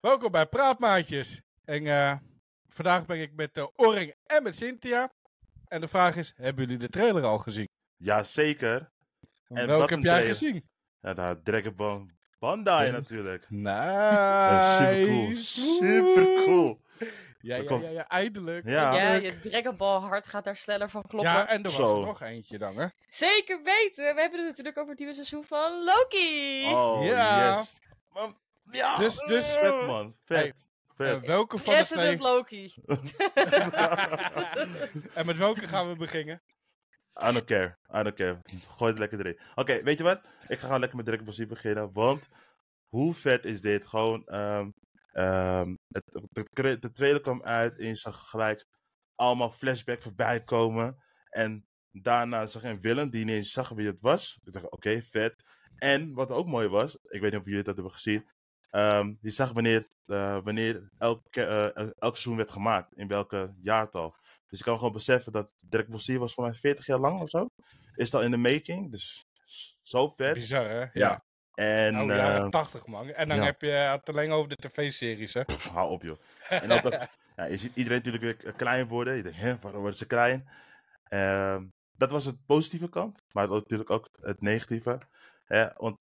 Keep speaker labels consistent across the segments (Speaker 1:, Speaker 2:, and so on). Speaker 1: Welkom bij Praatmaatjes. En eh, vandaag ben ik met eh, Orring en met Cynthia. En de vraag is, hebben jullie de trailer al gezien?
Speaker 2: Jazeker.
Speaker 1: En
Speaker 2: En
Speaker 1: welke
Speaker 2: wat
Speaker 1: heb
Speaker 2: een
Speaker 1: jij
Speaker 2: trailer.
Speaker 1: gezien?
Speaker 2: Ja, daar Dragon Ball Bandai
Speaker 1: Ja.
Speaker 2: natuurlijk. Eh,
Speaker 1: Nice.
Speaker 2: super cool. Super cool.
Speaker 1: Ja, ja,
Speaker 2: Er
Speaker 1: ja,
Speaker 2: komt-
Speaker 1: ja, eindelijk.
Speaker 2: Ja.
Speaker 3: Ja,
Speaker 1: Eindelijk.
Speaker 3: je Dragon Ball hart gaat daar sneller van kloppen.
Speaker 1: Ja, en er was
Speaker 2: Zo.
Speaker 1: er nog eentje dan, hè?
Speaker 3: Zeker weten! We hebben het natuurlijk over het nieuwe seizoen van Loki!
Speaker 2: Oh,
Speaker 1: Ja.
Speaker 2: yes. Man, ja.
Speaker 1: Dus, eh, dus eh,
Speaker 2: Ah, vet man. Vet. Vet.
Speaker 1: welke van de
Speaker 3: President
Speaker 1: twee...
Speaker 3: Loki.
Speaker 1: en met welke gaan we beginnen?
Speaker 2: I don't care. I don't care. Gooi het lekker erin. Oké, weet je wat? Ik ga gewoon lekker met Dragon Ball Z beginnen. Want hoe vet is dit? Gewoon, ehm, ehm, het, de, tra- de trailer kwam uit en je zag gelijk allemaal flashback voorbij komen. En daarna zag je een Willem die ineens zag wie het was. Ik dacht, oké, vet. En wat ook mooi was, ik weet niet of jullie dat hebben gezien. ehm, je zag wanneer, eh, wanneer elk, eh, elk seizoen werd gemaakt. In welke jaartal. Dus ik kan gewoon beseffen dat Dirk Bossier was voor mij 40 jaar lang of zo. Is dat in de making. Dus zo vet.
Speaker 1: Bizar, hè? Ja.
Speaker 2: En
Speaker 1: Nou,
Speaker 2: eh,
Speaker 1: jaren 80, man. En dan
Speaker 2: ja.
Speaker 1: heb je het alleen over de tv-series, hè?
Speaker 2: pff, hou op joh. En ook dat, ja, je ziet iedereen natuurlijk weer eh, klein worden. Je denkt, hè, waarom worden ze klein? Ehm, dat was het positieve kant. Maar het- natuurlijk ook het negatieve. Hè? Want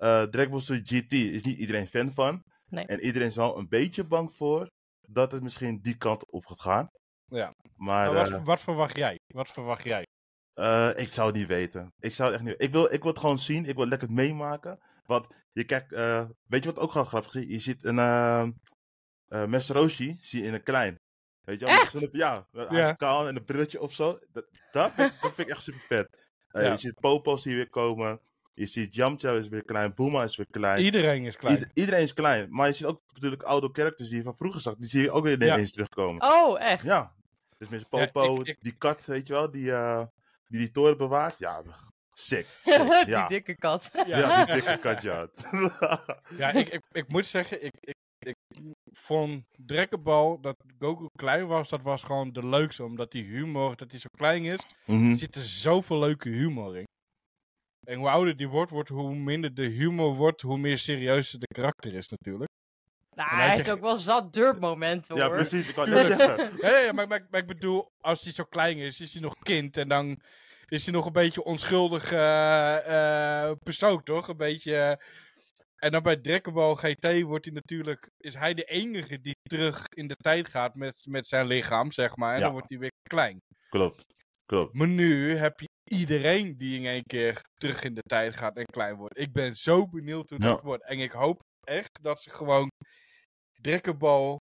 Speaker 2: eh Dragon Ball Z GT is niet iedereen fan van.
Speaker 3: Nee.
Speaker 2: En iedereen is wel een beetje bang voor dat het misschien die kant op gaat gaan.
Speaker 1: Ja.
Speaker 2: Maar,
Speaker 1: Maar
Speaker 2: eh,
Speaker 1: wat, wat verwacht jij? Wat verwacht jij?
Speaker 2: Eh, ik zou het niet weten. Ik zou het echt niet. Ik wil, ik wil het gewoon zien. Ik wil het lekker meemaken. Want je kijkt. eh, weet je wat ook gewoon grappig is? Je ziet een. eh eh Roshi zie je in een klein. Weet je wel?
Speaker 3: Echt?
Speaker 2: met zulke- Ja, hij
Speaker 1: Ja.
Speaker 2: is kaal en een brilletje of zo. Dat, dat, vind, ik- dat vind ik echt super vet. Eh,
Speaker 1: Ja.
Speaker 2: Je ziet Popo's hier weer komen. Je ziet Yamcha is weer klein. Booma is weer klein.
Speaker 1: Iedereen is klein.
Speaker 2: Ieder- iedereen is klein. Maar je ziet ook natuurlijk oude characters die je van vroeger zag. Die zie je ook weer ineens terugkomen.
Speaker 3: Oh, echt?
Speaker 2: Ja, dus met
Speaker 1: Ja,
Speaker 2: zijn Popo,
Speaker 1: ik- ik-
Speaker 2: die kat, weet je wel, die, eh, die die toren bewaakt. Ja, sick, sick,
Speaker 3: Die
Speaker 2: ja.
Speaker 3: dikke kat.
Speaker 1: Ja.
Speaker 2: Ja. die dikke kat, ja.
Speaker 1: Ja, ik, ik, ik moet zeggen, ik, ik, ik vond Dragon Ball dat Goku klein was, dat was gewoon de leukste. Omdat die humor, dat hij zo klein is,
Speaker 2: Mhm.
Speaker 1: zit er zoveel leuke humor in. En hoe ouder die wordt, wordt, hoe minder de humor wordt, hoe meer serieus de karakter is natuurlijk.
Speaker 3: Nou,
Speaker 1: En
Speaker 3: hij
Speaker 1: hij
Speaker 3: heeft
Speaker 1: zegt-
Speaker 3: ook wel zat durpmomenten
Speaker 2: ja,
Speaker 3: hoor.
Speaker 2: precies, ik kan het
Speaker 1: Tuurlijk.
Speaker 2: zeggen.
Speaker 1: Ja, ja, ja, maar, maar, maar ik bedoel, als hij zo klein is, is hij nog kind en dan is hij nog een beetje onschuldig eh, eh, persoon, toch? Een beetje... eh. en dan bij Dragon Ball GT wordt hij natuurlijk, is hij de enige die terug in de tijd gaat met, met zijn lichaam, zeg maar. En
Speaker 2: Ja.
Speaker 1: dan wordt hij weer klein.
Speaker 2: Klopt, klopt.
Speaker 1: Maar nu heb je iedereen die in één keer terug in de tijd gaat en klein wordt. Ik ben zo benieuwd hoe dat
Speaker 2: Ja.
Speaker 1: wordt. En ik hoop echt dat ze gewoon Dragon Ball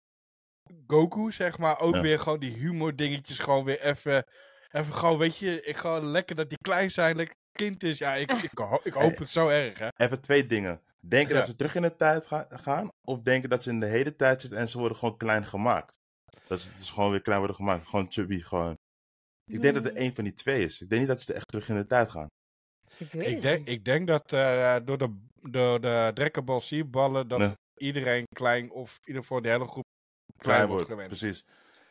Speaker 1: Goku, zeg maar, ook
Speaker 2: Ja.
Speaker 1: weer gewoon die humor dingetjes gewoon weer even... Even gewoon, weet je, ik ga lekker dat die klein zijn, lekker kind is. Ja, ik, ik, ho- ik hoop het zo erg, hè.
Speaker 2: Even twee dingen. Denken dat
Speaker 1: Ja.
Speaker 2: ze terug in de tijd ga- gaan, of denken dat ze in de hele tijd zitten en ze worden gewoon klein gemaakt. Dat ze dus gewoon weer klein worden gemaakt, gewoon chubby, gewoon. Ik denk
Speaker 1: Mm.
Speaker 2: dat er één van die twee is. Ik denk niet dat ze echt terug in de tijd gaan.
Speaker 3: Ik weet
Speaker 1: Ik
Speaker 3: het
Speaker 1: denk,
Speaker 3: niet.
Speaker 1: ik denk dat eh, door de, door de Dragon Ball Z-ballen dat
Speaker 2: Nee.
Speaker 1: iedereen klein, of in ieder geval de hele groep klein,
Speaker 2: Klein
Speaker 1: wordt
Speaker 2: wordt,
Speaker 1: gewend.
Speaker 2: precies.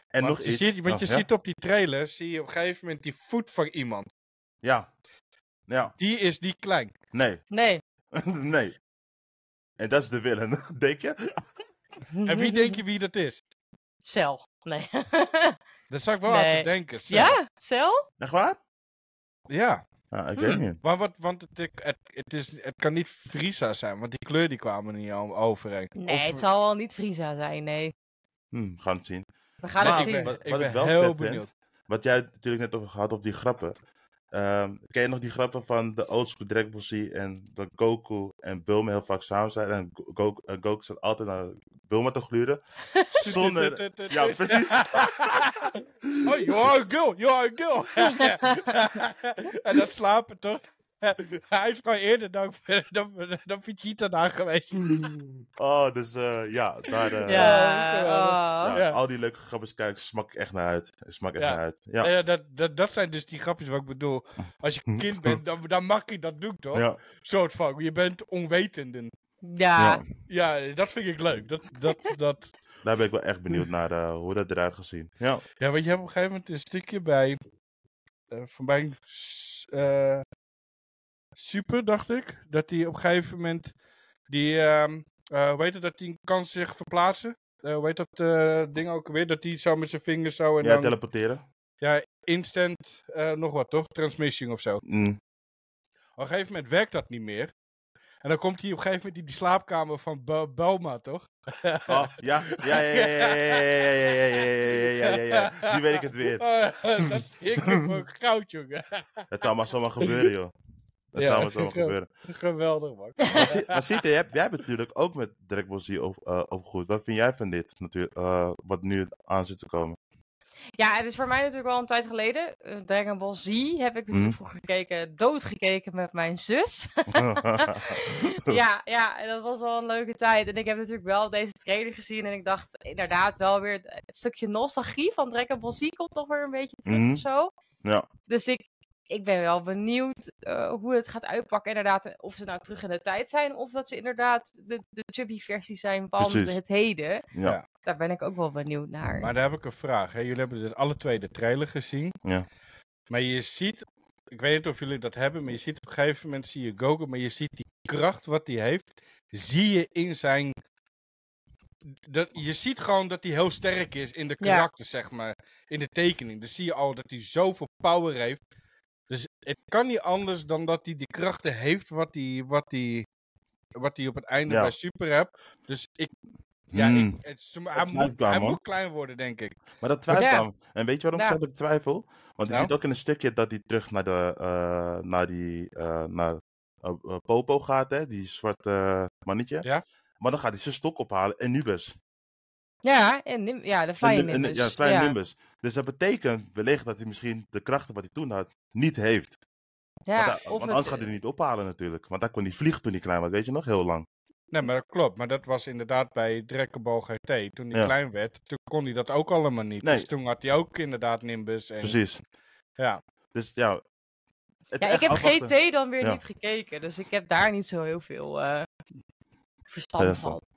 Speaker 2: En
Speaker 1: Want
Speaker 2: nog
Speaker 1: je
Speaker 2: iets.
Speaker 1: Ziet, want
Speaker 2: Oh,
Speaker 1: je
Speaker 2: ja?
Speaker 1: ziet op die trailer, zie je op een gegeven moment die voet van iemand.
Speaker 2: Ja. Ja,
Speaker 1: Die is die klein.
Speaker 2: nee.
Speaker 3: Nee.
Speaker 2: nee. En dat is de Willen, denk je?
Speaker 1: En
Speaker 3: Mhm.
Speaker 1: wie denk je wie dat is?
Speaker 3: Cel. Nee.
Speaker 1: Daar zou ik wel
Speaker 3: Nee.
Speaker 1: aan te denken. Sam.
Speaker 3: ja? Cel?
Speaker 2: Echt waar?
Speaker 1: Ja.
Speaker 2: Ah, ik
Speaker 3: Hmm.
Speaker 2: weet niet.
Speaker 1: Maar wat, want het, het, het is, het kan niet Frieza zijn, want die kleur die kwam er niet al overheen.
Speaker 3: Nee,
Speaker 1: Of-
Speaker 3: het zal wel niet Frieza zijn, nee.
Speaker 2: Hmm, we gaan het zien.
Speaker 3: We gaan
Speaker 1: Maar
Speaker 3: het
Speaker 1: ik
Speaker 3: zien.
Speaker 1: ben-
Speaker 2: Wat,
Speaker 1: ik
Speaker 2: wat
Speaker 1: ben
Speaker 2: ik wel
Speaker 1: heel
Speaker 2: vet
Speaker 1: benieuwd.
Speaker 2: vind, wat jij natuurlijk net over had op die grappen. Ehm, ken je nog die grappen van de oldschool Dragon Ball Z en dat Goku en Bulma heel vaak samen zijn en Go- Go- eh, Goku zat altijd naar Bulma te gluren? Zonder... Ja, precies.
Speaker 1: Oh, you are a girl, you are a girl. en dat slapen toch? Hij is gewoon eerder dan, dan, dan Vegeta daar geweest.
Speaker 2: Oh, dus eh, ja, daar... eh,
Speaker 3: Ja,
Speaker 1: geweldig.
Speaker 3: oh.
Speaker 2: ja,
Speaker 1: Ja.
Speaker 2: Al die leuke grappen, kijk, smak ik echt naar uit. Ik Smak echt
Speaker 1: Ja.
Speaker 2: naar uit. Ja,
Speaker 1: Nou ja, dat, dat, dat zijn dus die grapjes wat ik bedoel. Als je kind bent, dan, dan mag je dat doen, toch?
Speaker 2: ja.
Speaker 1: Soort van. Je bent onwetenden.
Speaker 3: ja.
Speaker 2: ja.
Speaker 1: Ja, dat vind ik leuk. Dat, dat, dat.
Speaker 2: Daar ben ik wel echt benieuwd naar eh, hoe dat eruit gaat zien. Ja.
Speaker 1: Ja, want je hebt op een gegeven moment een stukje bij... eh, van mijn... s- eh, super, dacht ik. Dat die op een gegeven moment... Die... ehm, eh hoe heet het, dat hij kan zich verplaatsen. Eh hoe heet dat eh, ding ook weer? Dat hij zo met zijn vingers zo en
Speaker 2: Ja,
Speaker 1: dan
Speaker 2: teleporteren.
Speaker 1: instant eh, nog wat, toch? Transmission of zo.
Speaker 2: Mm.
Speaker 1: Op een gegeven moment werkt dat niet meer. En dan komt hij op een gegeven moment in die slaapkamer van Bo- Belma, toch?
Speaker 2: Oh, ja, ja, ja, ja, ja, ja, ja, ja, ja, ja, ja, ja, ja, ja. Nu weet ik het weer.
Speaker 1: Eh, dat is ik ook goud, jongen.
Speaker 2: Het zou maar zomaar gebeuren, joh. Het
Speaker 1: Ja,
Speaker 2: zou maar zomaar
Speaker 1: klopt.
Speaker 2: gebeuren.
Speaker 1: Geweldig, man.
Speaker 2: Maar Sita, maar Sita, jij, jij hebt natuurlijk ook met Dragon Ball Z op, eh, opgegroeid. Wat vind jij van dit, natuurlijk, eh, wat nu aan zit te komen?
Speaker 3: Ja, het is voor mij natuurlijk al een tijd geleden. Eh, Dragon Ball Z heb ik natuurlijk
Speaker 2: Mhm.
Speaker 3: vroeger gekeken, doodgekeken met mijn zus. ja, ja, en dat was wel een leuke tijd. En ik heb natuurlijk wel deze trailer gezien en ik dacht inderdaad wel weer het stukje nostalgie van Dragon Ball Z komt toch weer een beetje terug
Speaker 2: Mhm.
Speaker 3: of zo.
Speaker 2: Ja.
Speaker 3: Dus ik, ik ben wel benieuwd eh, hoe het gaat uitpakken inderdaad. Of ze nou terug in de tijd zijn of dat ze inderdaad de, de chubby versie zijn van
Speaker 2: Precies.
Speaker 3: het heden.
Speaker 2: ja.
Speaker 3: Daar ben ik ook wel benieuwd naar.
Speaker 1: Maar daar heb ik een vraag. Hè. Jullie hebben dit alle twee de trailer gezien.
Speaker 2: Ja.
Speaker 1: Maar je ziet, ik weet niet of jullie dat hebben, maar je ziet op een gegeven moment zie je Goku, maar je ziet die kracht wat hij heeft, zie je in zijn. Dat, je ziet gewoon dat hij heel sterk is in de
Speaker 3: Ja.
Speaker 1: karakter, zeg maar. In de tekening. Dan zie je al dat hij zoveel power heeft. Dus het kan niet anders dan dat hij die krachten heeft wat hij, wat hij, wat hij op het einde
Speaker 2: Ja.
Speaker 1: bij Super hebt. Dus ik, ja, ik-
Speaker 2: Hmm.
Speaker 1: het is- hij, moet,
Speaker 2: is moeilijk,
Speaker 1: hij
Speaker 2: man.
Speaker 1: moet klein worden, denk ik.
Speaker 2: Maar dat twijfel
Speaker 3: Ja.
Speaker 2: aan. En weet je waarom
Speaker 3: Ja.
Speaker 2: ik zeg dat ik twijfel? Want je
Speaker 1: Nou?
Speaker 2: ziet ook in een stukje dat hij terug naar, de, eh, naar die eh, naar, eh, eh, Popo gaat, hè? die zwarte eh, mannetje.
Speaker 1: Ja.
Speaker 2: Maar dan gaat hij zijn stok ophalen en Nubus.
Speaker 3: Ja, en Nim- ja, de
Speaker 2: En-
Speaker 3: Flying
Speaker 2: en-
Speaker 3: Nimbus.
Speaker 2: Ja, Flying Nimbus. Dus dat betekent wellicht dat hij misschien de krachten wat hij toen had niet heeft.
Speaker 3: Ja,
Speaker 2: want hij-
Speaker 3: of
Speaker 2: want anders
Speaker 3: het- eh,
Speaker 2: gaat hij het niet ophalen natuurlijk. Want daar kon hij vliegen toen hij klein was, weet je nog? Heel lang.
Speaker 1: Nee, maar dat klopt. Maar dat was inderdaad bij Dragon Ball GT. Toen hij
Speaker 2: Ja.
Speaker 1: klein werd, toen kon hij dat ook allemaal niet.
Speaker 2: Nee.
Speaker 1: Dus toen had hij ook inderdaad Nimbus. En...
Speaker 2: Precies.
Speaker 1: Ja.
Speaker 2: Dus ja. het
Speaker 3: Ja,
Speaker 2: echt
Speaker 3: ik heb
Speaker 2: afwachten.
Speaker 3: GT dan weer
Speaker 2: Ja.
Speaker 3: niet gekeken, dus ik heb daar niet zo heel veel eh, verstand
Speaker 2: Verstand.
Speaker 3: van.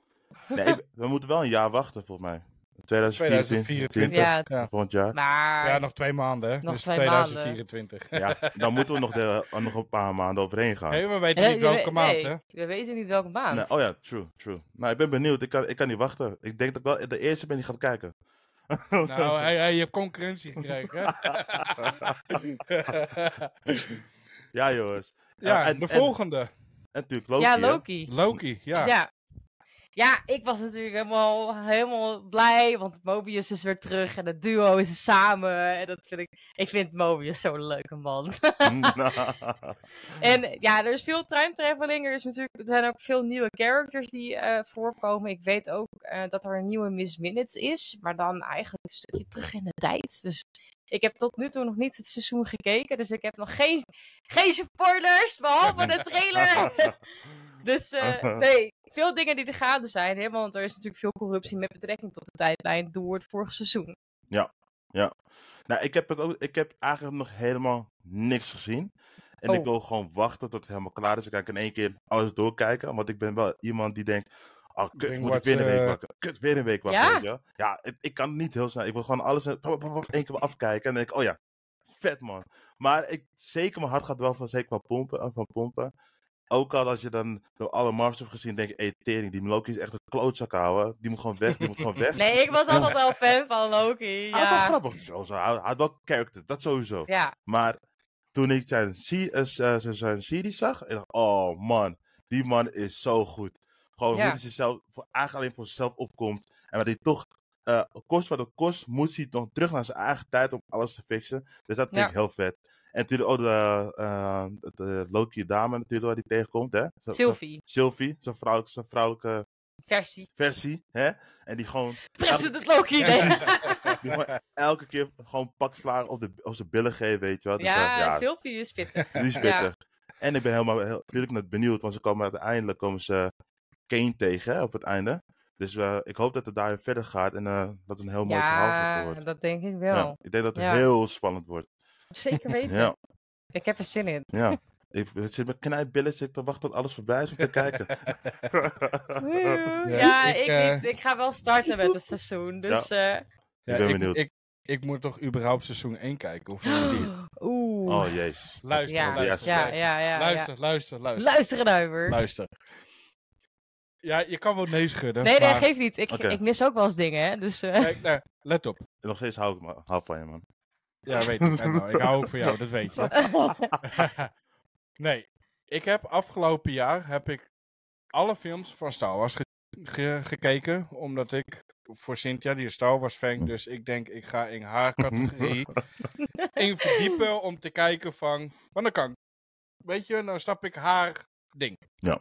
Speaker 2: Nee, ik- we moeten wel een jaar wachten volgens mij. 2024.
Speaker 1: 2024.
Speaker 3: Ja,
Speaker 1: Ja.
Speaker 2: Volgend jaar.
Speaker 3: Maar
Speaker 1: Ja, nog twee maanden. hè.
Speaker 3: Nog
Speaker 1: dus
Speaker 3: twee maanden.
Speaker 1: 2024.
Speaker 2: Ja, dan moeten we nog, de, eh, nog een paar maanden overheen gaan.
Speaker 1: Nee, we weten
Speaker 3: Eh,
Speaker 1: niet
Speaker 3: je
Speaker 1: welke
Speaker 3: weet-
Speaker 1: maand,
Speaker 3: nee,
Speaker 1: hè?
Speaker 3: we weten niet welke maand.
Speaker 2: Nee, oh ja, true, true. Nou, ik ben benieuwd. Ik kan, ik kan niet wachten. Ik denk dat ik wel de eerste ben die gaat kijken.
Speaker 1: Nou, hij, hij heeft concurrentie gekregen. hè.
Speaker 2: Ja, jongens.
Speaker 1: ja,
Speaker 2: en-
Speaker 1: de
Speaker 2: en-
Speaker 1: volgende.
Speaker 2: En natuurlijk Loki.
Speaker 3: ja,
Speaker 2: hè?
Speaker 3: Loki.
Speaker 1: Loki, ja.
Speaker 3: Ja. ja. ik was natuurlijk helemaal, helemaal blij, want Mobius is weer terug en het duo is samen. En dat vind ik, ik vind Mobius zo'n leuke man.
Speaker 2: Mm.
Speaker 3: En eh, ja, er is veel time traveling. Er, is natuurlijk, er zijn ook veel nieuwe characters die eh, voorkomen. Ik weet ook eh, dat er een nieuwe Miss Minutes is, maar dan eigenlijk een stukje terug in de tijd. Dus ik heb tot nu toe nog niet het seizoen gekeken, dus ik heb nog geen, geen spoilers, behalve de trailer. dus eh, nee, veel dingen die de gaten zijn, hè, want er is natuurlijk veel corruptie met betrekking tot de tijdlijn door het vorige seizoen.
Speaker 2: nou, ik heb, het ook, ik heb eigenlijk nog helemaal niks gezien. En ik
Speaker 3: Oh.
Speaker 2: wil gewoon wachten tot het helemaal klaar is. Dan kan ik in één keer alles doorkijken. Want ik ben wel iemand die denkt... Oh, kut,
Speaker 1: Bring
Speaker 2: moet ik
Speaker 1: what,
Speaker 2: weer een week
Speaker 1: eh,
Speaker 2: wachten. Kut, weer een week wachten.
Speaker 3: Ja?
Speaker 2: weet je wel. ja ik, ik kan niet heel snel. Ik wil gewoon alles in pop, pop, pop, één keer afkijken. En dan denk ik, oh ja, vet man. Maar ik, zeker mijn hart gaat wel van, zeker van pompen. eh, Van pompen. Ook al als je dan door alle Mars hebt gezien, denk je, hey, tering, die Loki is echt een klootzak houden. Die moet gewoon weg, die moet gewoon weg.
Speaker 3: Nee, ik was altijd wel fan van Loki.
Speaker 2: Hij had wel
Speaker 3: Ja,
Speaker 2: grappig. Zo, zo. Hij hij had wel character, dat sowieso.
Speaker 3: ja.
Speaker 2: Maar toen ik zijn, se- eh, z- eh, zijn, zijn serie zag, ik dacht, oh man, die man is zo goed. Gewoon
Speaker 3: Ja.
Speaker 2: hoe hij zichzelf voor, eigenlijk alleen voor zichzelf opkomt. En dat hij toch, eh, kost wat het kost, moet hij dan terug naar zijn eigen tijd om alles te fixen. Dus dat vind
Speaker 3: Ja.
Speaker 2: ik heel vet. En natuurlijk ook de, eh, de Loki dame natuurlijk waar die tegenkomt, hè? Zo- zo-
Speaker 3: Sylvie,
Speaker 2: Sylvie, zijn vrouwelijke, zijn vrouwelijke
Speaker 3: versie.
Speaker 2: versie, hè? En die gewoon
Speaker 3: President Loki, nee.
Speaker 2: Precies. Die gewoon elke keer gewoon pak slagen op, de, op zijn billen geven, weet je wel. Dus, eh,
Speaker 3: Ja,
Speaker 2: ja,
Speaker 3: Sylvie is pittig.
Speaker 2: die is pittig. En ik ben helemaal heel, natuurlijk net benieuwd, want ze komen uiteindelijk komen ze Kane tegen hè, op het einde. Dus eh, ik hoop dat het daarin verder gaat en eh, dat het een heel mooi verhaal
Speaker 3: ja,
Speaker 2: gaat worden.
Speaker 3: dat denk ik
Speaker 2: Ja,
Speaker 3: wel.
Speaker 2: ik denk dat het
Speaker 3: Ja.
Speaker 2: heel spannend wordt.
Speaker 3: Zeker weten.
Speaker 2: Ja,
Speaker 3: Ik heb er zin in.
Speaker 2: ja. Ik het zit met knijpbillen, zit ik te wachten tot alles voorbij is om te kijken.
Speaker 3: Woehoe.
Speaker 1: Ja,
Speaker 3: Ja,
Speaker 1: ik,
Speaker 3: ik,
Speaker 1: eh,
Speaker 3: niet. Ik ga wel starten met het seizoen. Dus, eh,
Speaker 1: Ja,
Speaker 2: Ik ben
Speaker 1: ik,
Speaker 2: benieuwd.
Speaker 1: Ik, ik moet toch überhaupt seizoen 1 kijken? Of niet?
Speaker 3: Oeh.
Speaker 2: oh jezus.
Speaker 1: Luister,
Speaker 3: Ja,
Speaker 1: luister,
Speaker 2: ja,
Speaker 3: ja, ja, ja, ja.
Speaker 1: luister, luister, luister,
Speaker 3: Luisteren, duiver.
Speaker 1: Luister. Ja, je kan wel nee schudden.
Speaker 3: nee, nee,
Speaker 1: maar-
Speaker 3: geef niet. Ik,
Speaker 2: Oké.
Speaker 3: ik mis ook wel eens dingen, hè. Dus eh,
Speaker 1: Kijk, nou, let op.
Speaker 2: Nog steeds hou ik me- hou van je, man.
Speaker 1: Ja, weet ik. En nou, ik hou ook van jou, dat weet je. nee, ik heb afgelopen jaar heb ik alle films van Star Wars ge- ge- gekeken. Omdat ik voor Cynthia, die is Star Wars fan, dus ik denk ik ga in haar categorie in verdiepen om te kijken van, want dan kan ik. Weet je, dan stap ik haar ding.
Speaker 2: Ja.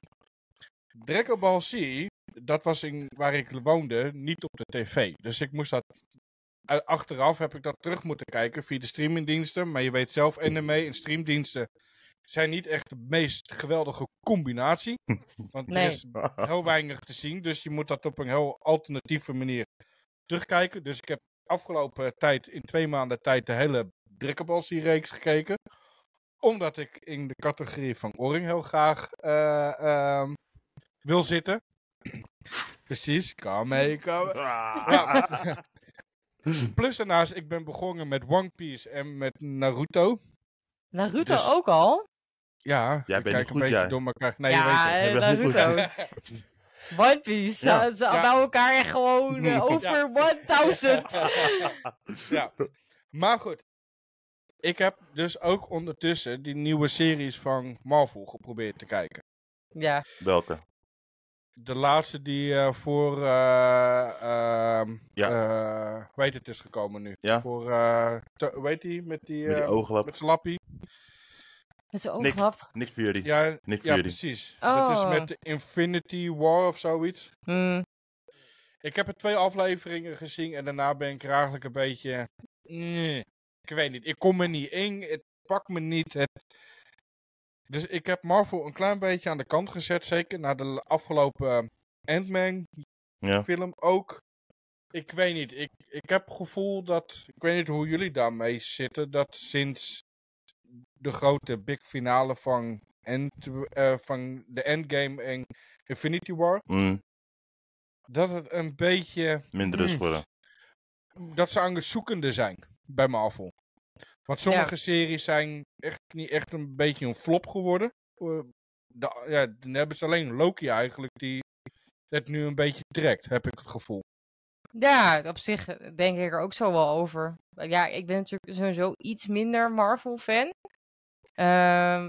Speaker 1: Dragon Ball Z, dat was in, waar ik woonde, niet op de tv. Dus ik moest dat eh, achteraf heb ik dat terug moeten kijken via de streamingdiensten. Maar je weet zelf, anime en streamdiensten zijn niet echt de meest geweldige combinatie. Want
Speaker 3: Nee.
Speaker 1: er is heel weinig te zien. Dus je moet dat op een heel alternatieve manier terugkijken. Dus ik heb afgelopen tijd, in twee maanden tijd, de hele Drikkebalsie reeks gekeken. Omdat ik in de categorie van Oring heel graag eh, ehm, wil zitten. Precies, kom mee, kom ja. Plus daarnaast, ik ben begonnen met One Piece en met Naruto.
Speaker 3: Naruto
Speaker 1: Dus-
Speaker 3: ook al?
Speaker 1: Ja,
Speaker 2: Jij
Speaker 1: ik
Speaker 2: bent
Speaker 1: kijk
Speaker 2: niet
Speaker 1: een
Speaker 2: goed,
Speaker 1: beetje
Speaker 2: jij.
Speaker 1: door elkaar. Nee,
Speaker 3: ja,
Speaker 1: je weet
Speaker 2: het.
Speaker 3: eh,
Speaker 2: Je bent niet
Speaker 3: Naruto. One Piece.
Speaker 2: Ja.
Speaker 3: Ze- Ze
Speaker 1: Ja.
Speaker 3: bij elkaar echt gewoon eh,
Speaker 2: Ja.
Speaker 1: Ja.
Speaker 3: over
Speaker 1: het.
Speaker 3: 1000.
Speaker 1: Ja. Maar goed, ik heb dus ook ondertussen die nieuwe series van Marvel geprobeerd te kijken.
Speaker 3: Ja,
Speaker 2: Welke?
Speaker 1: De laatste die eh, voor, eh ehm
Speaker 2: Ja.
Speaker 1: eh, hoe heet het is gekomen nu.
Speaker 2: Ja.
Speaker 1: Voor, eh, te- hoe heet die, met die,
Speaker 2: Met die
Speaker 1: eh,
Speaker 2: ooglap.
Speaker 1: met zijn lappie.
Speaker 3: dat is ook
Speaker 2: Niks.
Speaker 3: grap.
Speaker 2: Nick Fury.
Speaker 1: Ja,
Speaker 2: Nick
Speaker 1: ja
Speaker 2: Fury.
Speaker 1: precies. Dat is
Speaker 3: Oh.
Speaker 1: met de Infinity War of zoiets.
Speaker 3: Mm.
Speaker 1: Ik heb er twee afleveringen gezien en daarna ben ik er eigenlijk een beetje. Nee, ik weet niet. Ik kom er niet in. Het pakt me niet. Het... Dus ik heb Marvel een klein beetje aan de kant gezet. Zeker na de l- afgelopen eh, Ant-Man
Speaker 2: Ja.
Speaker 1: film ook. Ik weet niet. Ik, ik heb het gevoel dat. Ik weet niet hoe jullie daarmee zitten. Dat sinds de grote big finale van, end, eh, van de Endgame en Infinity War.
Speaker 2: Mm,
Speaker 1: Dat het een beetje
Speaker 2: minder
Speaker 1: Mm.
Speaker 2: rust worden.
Speaker 1: dat ze aan het zoekende zijn bij Marvel. Want sommige series zijn echt niet echt een beetje een flop geworden. Eh, da- ja, dan hebben ze alleen Loki eigenlijk die het nu een beetje trekt, heb ik het gevoel.
Speaker 3: Ja, op zich eh, denk ik er ook zo wel over. Eh, Ja, ik ben natuurlijk sowieso iets minder Marvel-fan. Ehm,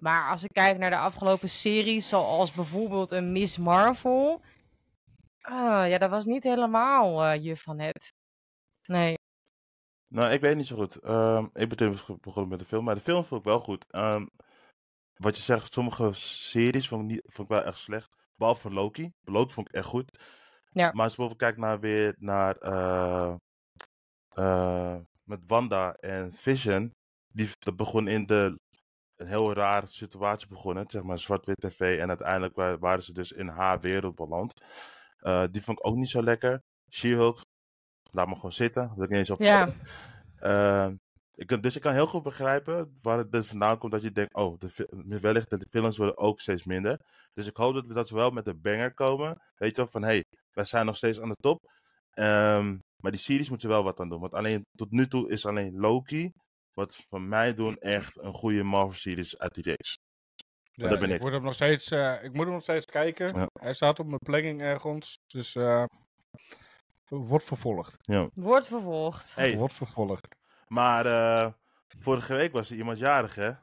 Speaker 3: maar als ik kijk naar de afgelopen series, zoals bijvoorbeeld een Miss Marvel. ah, ja, dat was niet helemaal eh, je van het. Nee.
Speaker 2: Nou, ik weet niet zo goed. Ehm, ik ben toen bes- begonnen met de film, maar de film vond ik wel goed. Ehm, wat je zegt, sommige series vond ik, niet, vond ik wel echt slecht. Behalve Loki. Loki vond ik echt goed.
Speaker 3: Ja.
Speaker 2: Maar als je bijvoorbeeld kijkt naar weer naar eh, eh, met Wanda en Vision, die dat begon in de een heel rare situatie begonnen, zeg maar zwart-wit tv en uiteindelijk wa- waren ze dus in haar wereld beland. Eh, die vond ik ook niet zo lekker. She-Hulk, laat me gewoon zitten, wil ik niet eens op
Speaker 3: Ja,
Speaker 2: Ehm, ik, kan- dus ik kan heel goed begrijpen waar het dus vandaan komt dat je denkt, oh, de, fi- wellicht dat de films worden ook steeds minder. Dus ik hoop dat, we- dat ze wel met een banger komen. Weet je wel, van hé, hey, wij zijn nog steeds aan de top. Ehm, maar die series moeten wel wat aan doen. Want alleen tot nu toe is alleen Loki, wat van mij doen, echt een goede Marvel-series uit die reeks.
Speaker 1: Ja,
Speaker 2: dat ben ik.
Speaker 1: Moet hem nog steeds, eh, ik moet hem nog steeds kijken.
Speaker 2: Ja.
Speaker 1: Hij staat op mijn planning ergens. Dus eh, wordt vervolgd.
Speaker 3: wordt vervolgd.
Speaker 2: Hey,
Speaker 1: Wordt vervolgd.
Speaker 2: maar eh, vorige week was er iemand jarig, hè?
Speaker 1: Ja.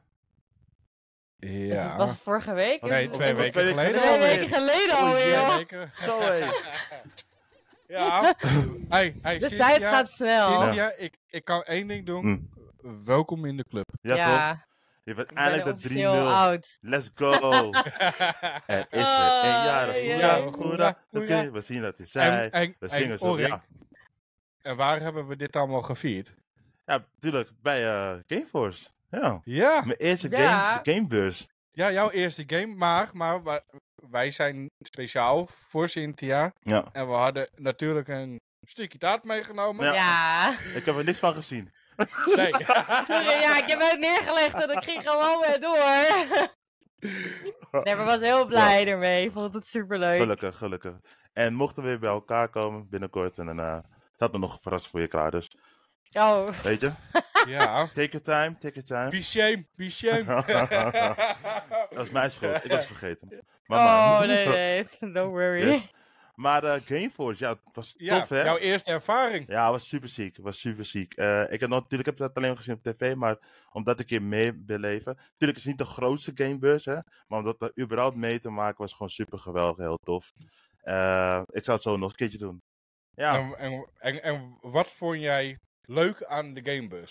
Speaker 3: Dus het was vorige week.
Speaker 2: Was-
Speaker 3: dus
Speaker 1: Nee,
Speaker 3: het-
Speaker 2: of-
Speaker 1: twee
Speaker 2: of-
Speaker 1: weken
Speaker 3: Twee
Speaker 1: geleden
Speaker 2: alweer.
Speaker 3: weken geleden alweer.
Speaker 1: Ja,
Speaker 2: joh.
Speaker 1: zeker.
Speaker 2: Zo, hé.
Speaker 1: Ja. Hey, hey,
Speaker 3: De
Speaker 1: Cynthia,
Speaker 3: tijd gaat snel.
Speaker 1: Cynthia, ik, ik kan één ding doen.
Speaker 2: Mm.
Speaker 1: Welkom in de club.
Speaker 2: Ja, toch?
Speaker 3: ja
Speaker 2: Je bent
Speaker 3: ik ben
Speaker 2: eindelijk de 3-0.
Speaker 3: officieel oud.
Speaker 2: Let's go! Er is er een
Speaker 3: Oh,
Speaker 2: jarig.
Speaker 3: jee.
Speaker 2: Hoera,
Speaker 1: Ja,
Speaker 2: hoera. Dat
Speaker 1: hoera.
Speaker 2: kun je wel zien, dat is zij.
Speaker 1: en,
Speaker 2: We zingen zo.
Speaker 1: Orik,
Speaker 2: Ja.
Speaker 1: En waar hebben we dit allemaal gevierd?
Speaker 2: ja, natuurlijk. Bij eh, Gameforce. Ja.
Speaker 1: Ja,
Speaker 2: Mijn eerste
Speaker 3: Ja.
Speaker 2: game, de gamebeurs.
Speaker 1: ja jouw eerste game, maar, maar wa- wij zijn speciaal voor Cynthia.
Speaker 2: Ja.
Speaker 1: En we hadden natuurlijk een stukje taart meegenomen.
Speaker 2: Ja.
Speaker 3: ja.
Speaker 2: Ik heb er niks van gezien.
Speaker 1: Nee.
Speaker 3: Sorry, ja, ik heb het neergelegd en ik ging gewoon weer door. Nee, maar was heel blij ermee. Ik vond het superleuk.
Speaker 2: Gelukkig, gelukkig. En mochten we weer bij elkaar komen binnenkort. En daarna staat er nog een verrassing voor je klaar. Dus
Speaker 3: Oh,
Speaker 2: weet je,
Speaker 1: Ja.
Speaker 2: Take your time, take your time.
Speaker 1: Be shame, be shame.
Speaker 2: Dat is mijn schuld, ik was het vergeten. Maar,
Speaker 3: Oh,
Speaker 2: maar.
Speaker 3: nee, nee. Don't worry.
Speaker 2: Yes. Maar eh, Gameforce, ja, het was
Speaker 1: ja,
Speaker 2: tof, hè?
Speaker 1: jouw eerste ervaring.
Speaker 2: Ja, het was super ziek. Het was super ziek. Eh, ik heb nog- natuurlijk heb ik dat alleen gezien op tv, maar omdat ik hier mee wil leven. Natuurlijk is het niet de grootste gamebus, hè. Maar om dat er überhaupt mee te maken was gewoon super geweldig, heel tof. Eh, ik zou het zo nog een keertje doen. Ja.
Speaker 1: En, en, en, en wat vond jij leuk aan de gamebus?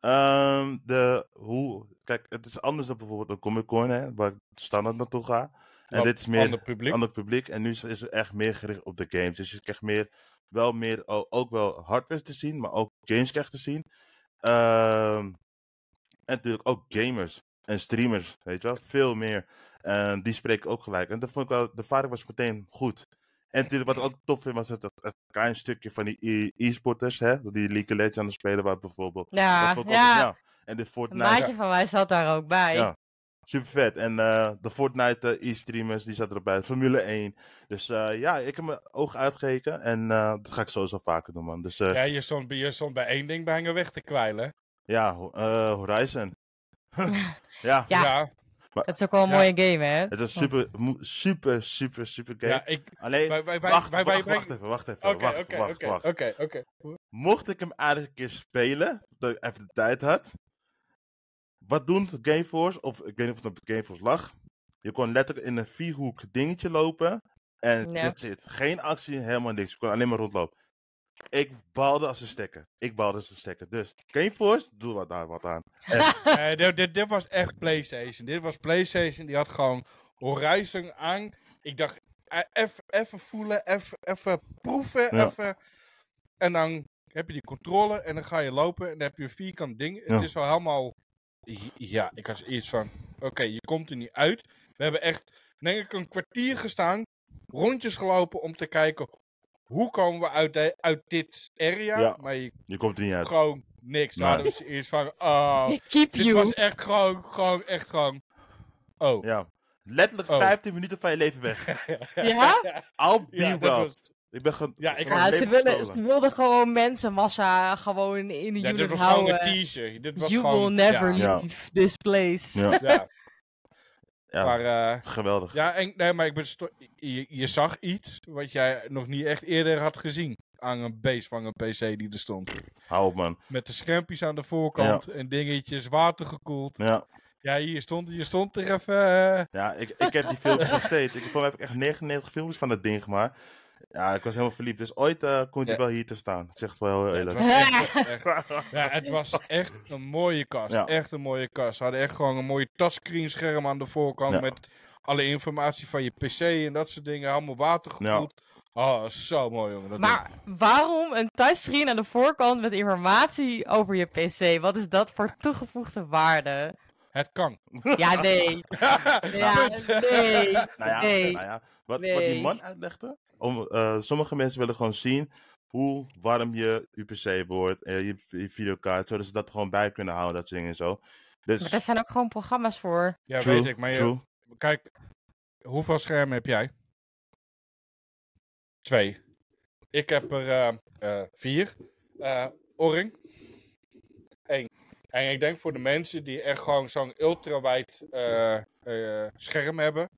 Speaker 2: Ehm, de, hoe, kijk, het is anders dan bijvoorbeeld een Comic Con, hè, waar ik standaard naartoe ga. En
Speaker 1: Wat
Speaker 2: dit is meer
Speaker 1: Ander publiek.
Speaker 2: ander publiek. En nu is, is het echt meer gericht op de games. Dus je krijgt meer, wel meer, o- ook wel hardware te zien, maar ook games krijgt te zien. Ehm, en natuurlijk ook gamers en streamers, weet je wel, veel meer. En die spreken ook gelijk. En dat vond ik wel, de ervaring was meteen goed. En natuurlijk, wat ik ook tof vind, was het, het, het klein stukje van die e- e-sporters, hè, dat die League of Legends aan het spelen waren bijvoorbeeld.
Speaker 3: Ja,
Speaker 2: Dat vond ik
Speaker 3: Nou, ja.
Speaker 2: altijd- En de
Speaker 3: Een
Speaker 2: Fortnite.
Speaker 3: maatje van mij zat daar ook bij.
Speaker 2: Ja. Super vet. En eh, de Fortnite eh, e-streamers, die zaten erbij. Formule 1. Dus eh, ja, ik heb mijn ogen uitgekeken. En eh, dat ga ik sowieso vaker doen, man. Dus eh,
Speaker 1: Ja, je stond, bij- je stond bij één ding bij hangen weg te kwijlen.
Speaker 2: ja, ho- eh, Horizon. ja,
Speaker 3: Ja.
Speaker 1: ja,
Speaker 3: Dat is ook wel een
Speaker 1: Ja.
Speaker 3: mooie game, hè?
Speaker 2: het is super, mo- super, super, super game.
Speaker 1: ja, ik...
Speaker 2: Alleen,
Speaker 1: Wij, wij, wij,
Speaker 2: Eh, wacht,
Speaker 1: wij, wij,
Speaker 2: wacht,
Speaker 1: wij-
Speaker 2: wacht even, wacht even.
Speaker 1: Oké,
Speaker 2: wacht,
Speaker 1: oké,
Speaker 2: wacht, wacht.
Speaker 1: oké, oké, oké.
Speaker 2: Mocht ik hem aardig een keer spelen, dat ik even de tijd had. Wat doen Gameforce, of ik weet niet of het op Gameforce lag. Je kon letterlijk in een vierhoek dingetje lopen. En
Speaker 3: Ja.
Speaker 2: that's it. Geen actie, helemaal niks. Je kon alleen maar rondlopen. Ik baalde als een stekker. Ik baalde als een stekker. Dus Gameforce, doe wat daar wat aan.
Speaker 1: Eh, dit, dit, dit was echt PlayStation. Dit was PlayStation. Die had gewoon Horizon aan. Ik dacht, eh, eff- even voelen, eff- even proeven.
Speaker 2: Ja.
Speaker 1: Even. En dan heb je die controle en dan ga je lopen. En dan heb je een vierkant ding.
Speaker 2: Ja.
Speaker 1: Het is al helemaal. Ja, ik was eerst van. Oké, je komt er niet uit. We hebben echt, denk ik, een kwartier gestaan. Rondjes gelopen om te kijken. Hoe komen we uit, de- uit dit area?
Speaker 2: Ja.
Speaker 1: Maar je
Speaker 2: Je komt er niet uit.
Speaker 1: gewoon niks.
Speaker 2: Nee.
Speaker 1: Daar hadden we eerst van. Oh,
Speaker 3: Je keep
Speaker 1: dit
Speaker 3: you.
Speaker 1: was echt gewoon, gewoon, echt gewoon. Oh.
Speaker 2: Ja. Letterlijk
Speaker 1: Oh.
Speaker 2: 15 minuten van je leven weg.
Speaker 3: Ja?
Speaker 2: I'll be
Speaker 1: Ja, dat
Speaker 2: robbed.
Speaker 1: was-
Speaker 2: Ik ben gewoon...
Speaker 1: Ja, ik
Speaker 2: van
Speaker 1: had-
Speaker 2: mijn
Speaker 3: Ja, ze
Speaker 2: leven
Speaker 3: wilden,
Speaker 2: gestolen.
Speaker 3: ze wilden gewoon mensenmassa gewoon in een
Speaker 1: ja, dit
Speaker 3: unit
Speaker 1: was gewoon
Speaker 3: houden.
Speaker 1: een teaser. Dit was
Speaker 3: You
Speaker 1: gewoon,
Speaker 3: will never
Speaker 2: Ja.
Speaker 3: leave this place.
Speaker 2: Ja.
Speaker 1: Ja, ja.
Speaker 2: Ja.
Speaker 1: maar, eh,
Speaker 2: Geweldig.
Speaker 1: ja en, nee, maar ik ben sto- je, je zag iets wat jij nog niet echt eerder had gezien. Aan een base van een PC die er stond.
Speaker 2: Hou op, man.
Speaker 1: Met de schermpjes aan de voorkant en dingetjes, watergekoeld.
Speaker 2: Ja.
Speaker 1: Ja, hier stond, je stond er even. eh,
Speaker 2: Ja, ik, ik heb die filmpjes nog steeds. Ik, voor mij heb ik echt 99 filmpjes van dat ding gemaakt. Ja, ik was helemaal verliefd. Dus ooit eh, komt hij
Speaker 1: Ja.
Speaker 2: wel hier te staan. Ik zeg het wel heel
Speaker 1: het
Speaker 2: eerlijk.
Speaker 1: was echt- echt- Ja, het was echt een mooie kast.
Speaker 2: Ja.
Speaker 1: Echt een mooie kast. Ze hadden echt gewoon een mooie touchscreen scherm aan de voorkant.
Speaker 2: Ja.
Speaker 1: Met alle informatie van je pc en dat soort dingen. Allemaal watergekoeld. Oh, zo mooi jongen. Dat
Speaker 3: Maar waarom een touchscreen aan de voorkant met informatie over je PC? Wat is dat voor toegevoegde waarde?
Speaker 1: Het kan.
Speaker 3: Ja, nee. Ja, nee.
Speaker 2: Nou ja,
Speaker 3: Nee.
Speaker 2: nou ja wat, wat die
Speaker 3: Nee.
Speaker 2: man uitlegde. Om, eh, sommige mensen willen gewoon zien hoe warm je UPC wordt. eh, je, je videokaart. Zodat ze dat gewoon bij kunnen houden. Dat soort dingen en zo.
Speaker 3: Maar
Speaker 2: Dus,
Speaker 3: daar zijn ook gewoon programma's voor.
Speaker 1: Ja,
Speaker 2: true,
Speaker 1: weet ik. Maar je-
Speaker 2: true.
Speaker 1: kijk, hoeveel schermen heb jij? Twee. Ik heb er eh, eh, vier. Eh Oring. Eén. En ik denk voor de mensen die echt gewoon zo'n ultrawijd eh, eh, scherm hebben.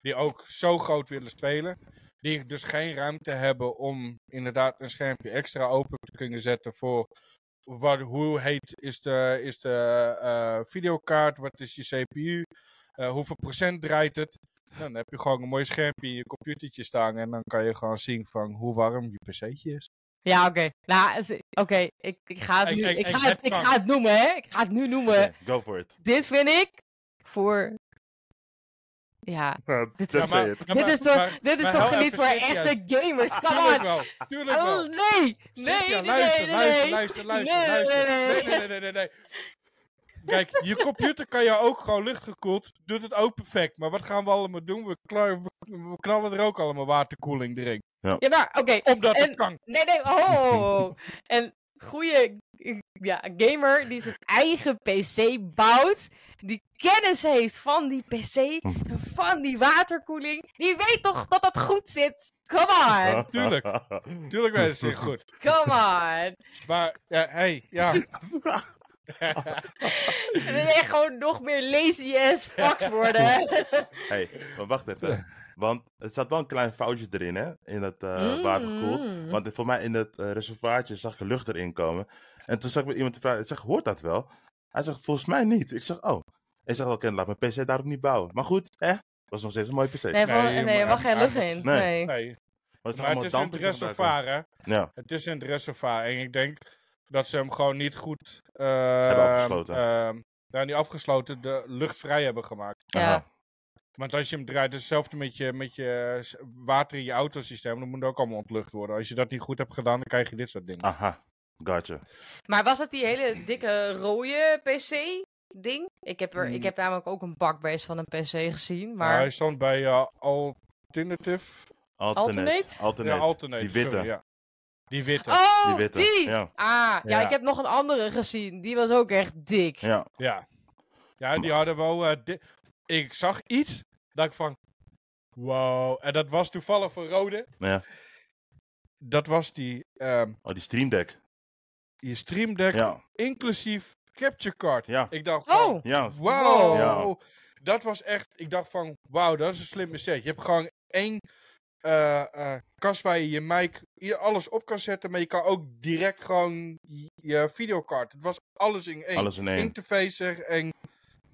Speaker 1: Die ook zo groot willen spelen. Die dus geen ruimte hebben om inderdaad een schermpje extra open te kunnen zetten voor... Wat, hoe heet is de, is de eh, videokaart? Wat is je CPU? Eh, hoeveel procent draait het? Nou, dan heb je gewoon een mooi schermpje in je computertje staan. En dan kan je gewoon zien van hoe warm je pc'tje is.
Speaker 3: Ja, oké. Nou, is- oké. Ik, ik ga het
Speaker 1: Ik-
Speaker 3: nu...
Speaker 1: ik-
Speaker 3: Ik
Speaker 1: ik
Speaker 3: ga
Speaker 1: heb
Speaker 3: het, ik
Speaker 1: van-
Speaker 3: ga het noemen, hè. Ik ga het nu noemen.
Speaker 2: Oké, go for it.
Speaker 3: Dit vind ik voor... Ja. Dit
Speaker 2: Just
Speaker 3: is-
Speaker 2: say it.
Speaker 3: dit is toch, dit is
Speaker 1: maar
Speaker 3: toch
Speaker 1: heel
Speaker 3: niet voor
Speaker 1: even serieus.
Speaker 3: echte gamers? Come
Speaker 1: Tuurlijk
Speaker 3: on.
Speaker 1: wel, tuurlijk
Speaker 3: Oh,
Speaker 1: wel.
Speaker 3: nee. Nee,
Speaker 1: Cynthia,
Speaker 3: nee,
Speaker 1: luister,
Speaker 3: nee,
Speaker 1: luister,
Speaker 3: nee.
Speaker 1: luister,
Speaker 3: Nee,
Speaker 1: luister,
Speaker 3: nee,
Speaker 1: luister.
Speaker 3: nee,
Speaker 1: Nee, nee,
Speaker 3: nee.
Speaker 1: nee, nee, nee. Kijk, je computer kan je ook gewoon luchtgekoeld. Doet het ook perfect. Maar wat gaan we allemaal doen? We, kla- we knallen er ook allemaal waterkoeling erin.
Speaker 3: Ja, maar oké.
Speaker 1: Omdat
Speaker 3: En-
Speaker 1: het kan.
Speaker 3: Nee, nee, oh. en goede ja, gamer die zijn eigen PC bouwt, die kennis heeft van die PC en van die waterkoeling, die weet toch dat dat goed zit. Come on,
Speaker 1: tuurlijk. Tuurlijk weet het zich goed.
Speaker 3: come on.
Speaker 1: Maar, ja, hey, ja.
Speaker 3: En dan ben je gewoon nog meer lazy ass fucks worden.
Speaker 2: hey, maar wacht even. Want er zat wel een klein foutje erin, hè? In dat eh
Speaker 3: Mm.
Speaker 2: water gekoeld. Want voor mij in het eh, reservaatje zag ik lucht erin komen. En toen zag ik met iemand te praten. Ik zeg, hoort dat wel? Hij zegt, volgens mij niet. Ik zeg, oh. Hij zegt, oké, laat mijn PC daarop niet bouwen. Maar goed, hè? Was nog steeds een mooie PC.
Speaker 3: Nee,
Speaker 2: Maar
Speaker 3: van,
Speaker 1: Nee,
Speaker 3: nee,
Speaker 1: maar-
Speaker 3: er mag geen lucht
Speaker 1: nee.
Speaker 3: in.
Speaker 2: Nee.
Speaker 3: Nee.
Speaker 1: Nee,
Speaker 2: het
Speaker 1: maar het is een
Speaker 2: dampers en zo.
Speaker 1: reservoir, hè?
Speaker 2: Ja,
Speaker 1: Het is een reservoir. En ik denk dat ze hem gewoon niet goed... eh,
Speaker 2: afgesloten.
Speaker 1: ehm, nou, niet afgesloten, de lucht vrij hebben gemaakt.
Speaker 3: Ja.
Speaker 2: Aha.
Speaker 1: Want als je hem draait, is hetzelfde met je, met je s- water in je autosysteem. Dan moet het ook allemaal ontlucht worden. Als je dat niet goed hebt gedaan, dan krijg je dit soort dingen.
Speaker 2: Aha. Gotcha.
Speaker 3: Maar was dat die hele dikke rode PC-ding? Ik, heb er- ik
Speaker 1: Mm.
Speaker 3: heb namelijk ook een bakbeest van een PC gezien.
Speaker 1: Maar
Speaker 3: Maar
Speaker 1: hij stond bij eh, Alternative.
Speaker 2: Alternate.
Speaker 3: Alternate?
Speaker 2: Alternate.
Speaker 1: Ja, Alternate.
Speaker 2: Die witte.
Speaker 1: sorry, ja. Die witte.
Speaker 3: Oh,
Speaker 2: Die
Speaker 3: die!
Speaker 2: witte, ja.
Speaker 3: Ah, ja,
Speaker 1: Ja.
Speaker 3: ik heb nog een andere gezien. Die was ook echt dik.
Speaker 2: Ja.
Speaker 1: Ja. Ja, die hadden wel. eh, di- ik zag iets dat ik van. Wow. En dat was toevallig voor Rode.
Speaker 2: Ja.
Speaker 1: Dat was die, ehm
Speaker 2: Oh, die Stream Deck.
Speaker 1: die Stream Deck,
Speaker 2: Ja.
Speaker 1: inclusief Capture Card.
Speaker 2: Ja.
Speaker 1: Ik dacht. Van,
Speaker 3: Oh!
Speaker 2: Ja.
Speaker 1: Wow.
Speaker 2: Ja.
Speaker 1: Dat was echt. Ik dacht van. Wauw, dat is een slimme set. Je hebt gewoon één. eh, eh, kast waar je je mic, je alles op kan zetten, maar je kan ook direct gewoon je, je videocard. Het was alles in één.
Speaker 2: Alles in één.
Speaker 1: interface er en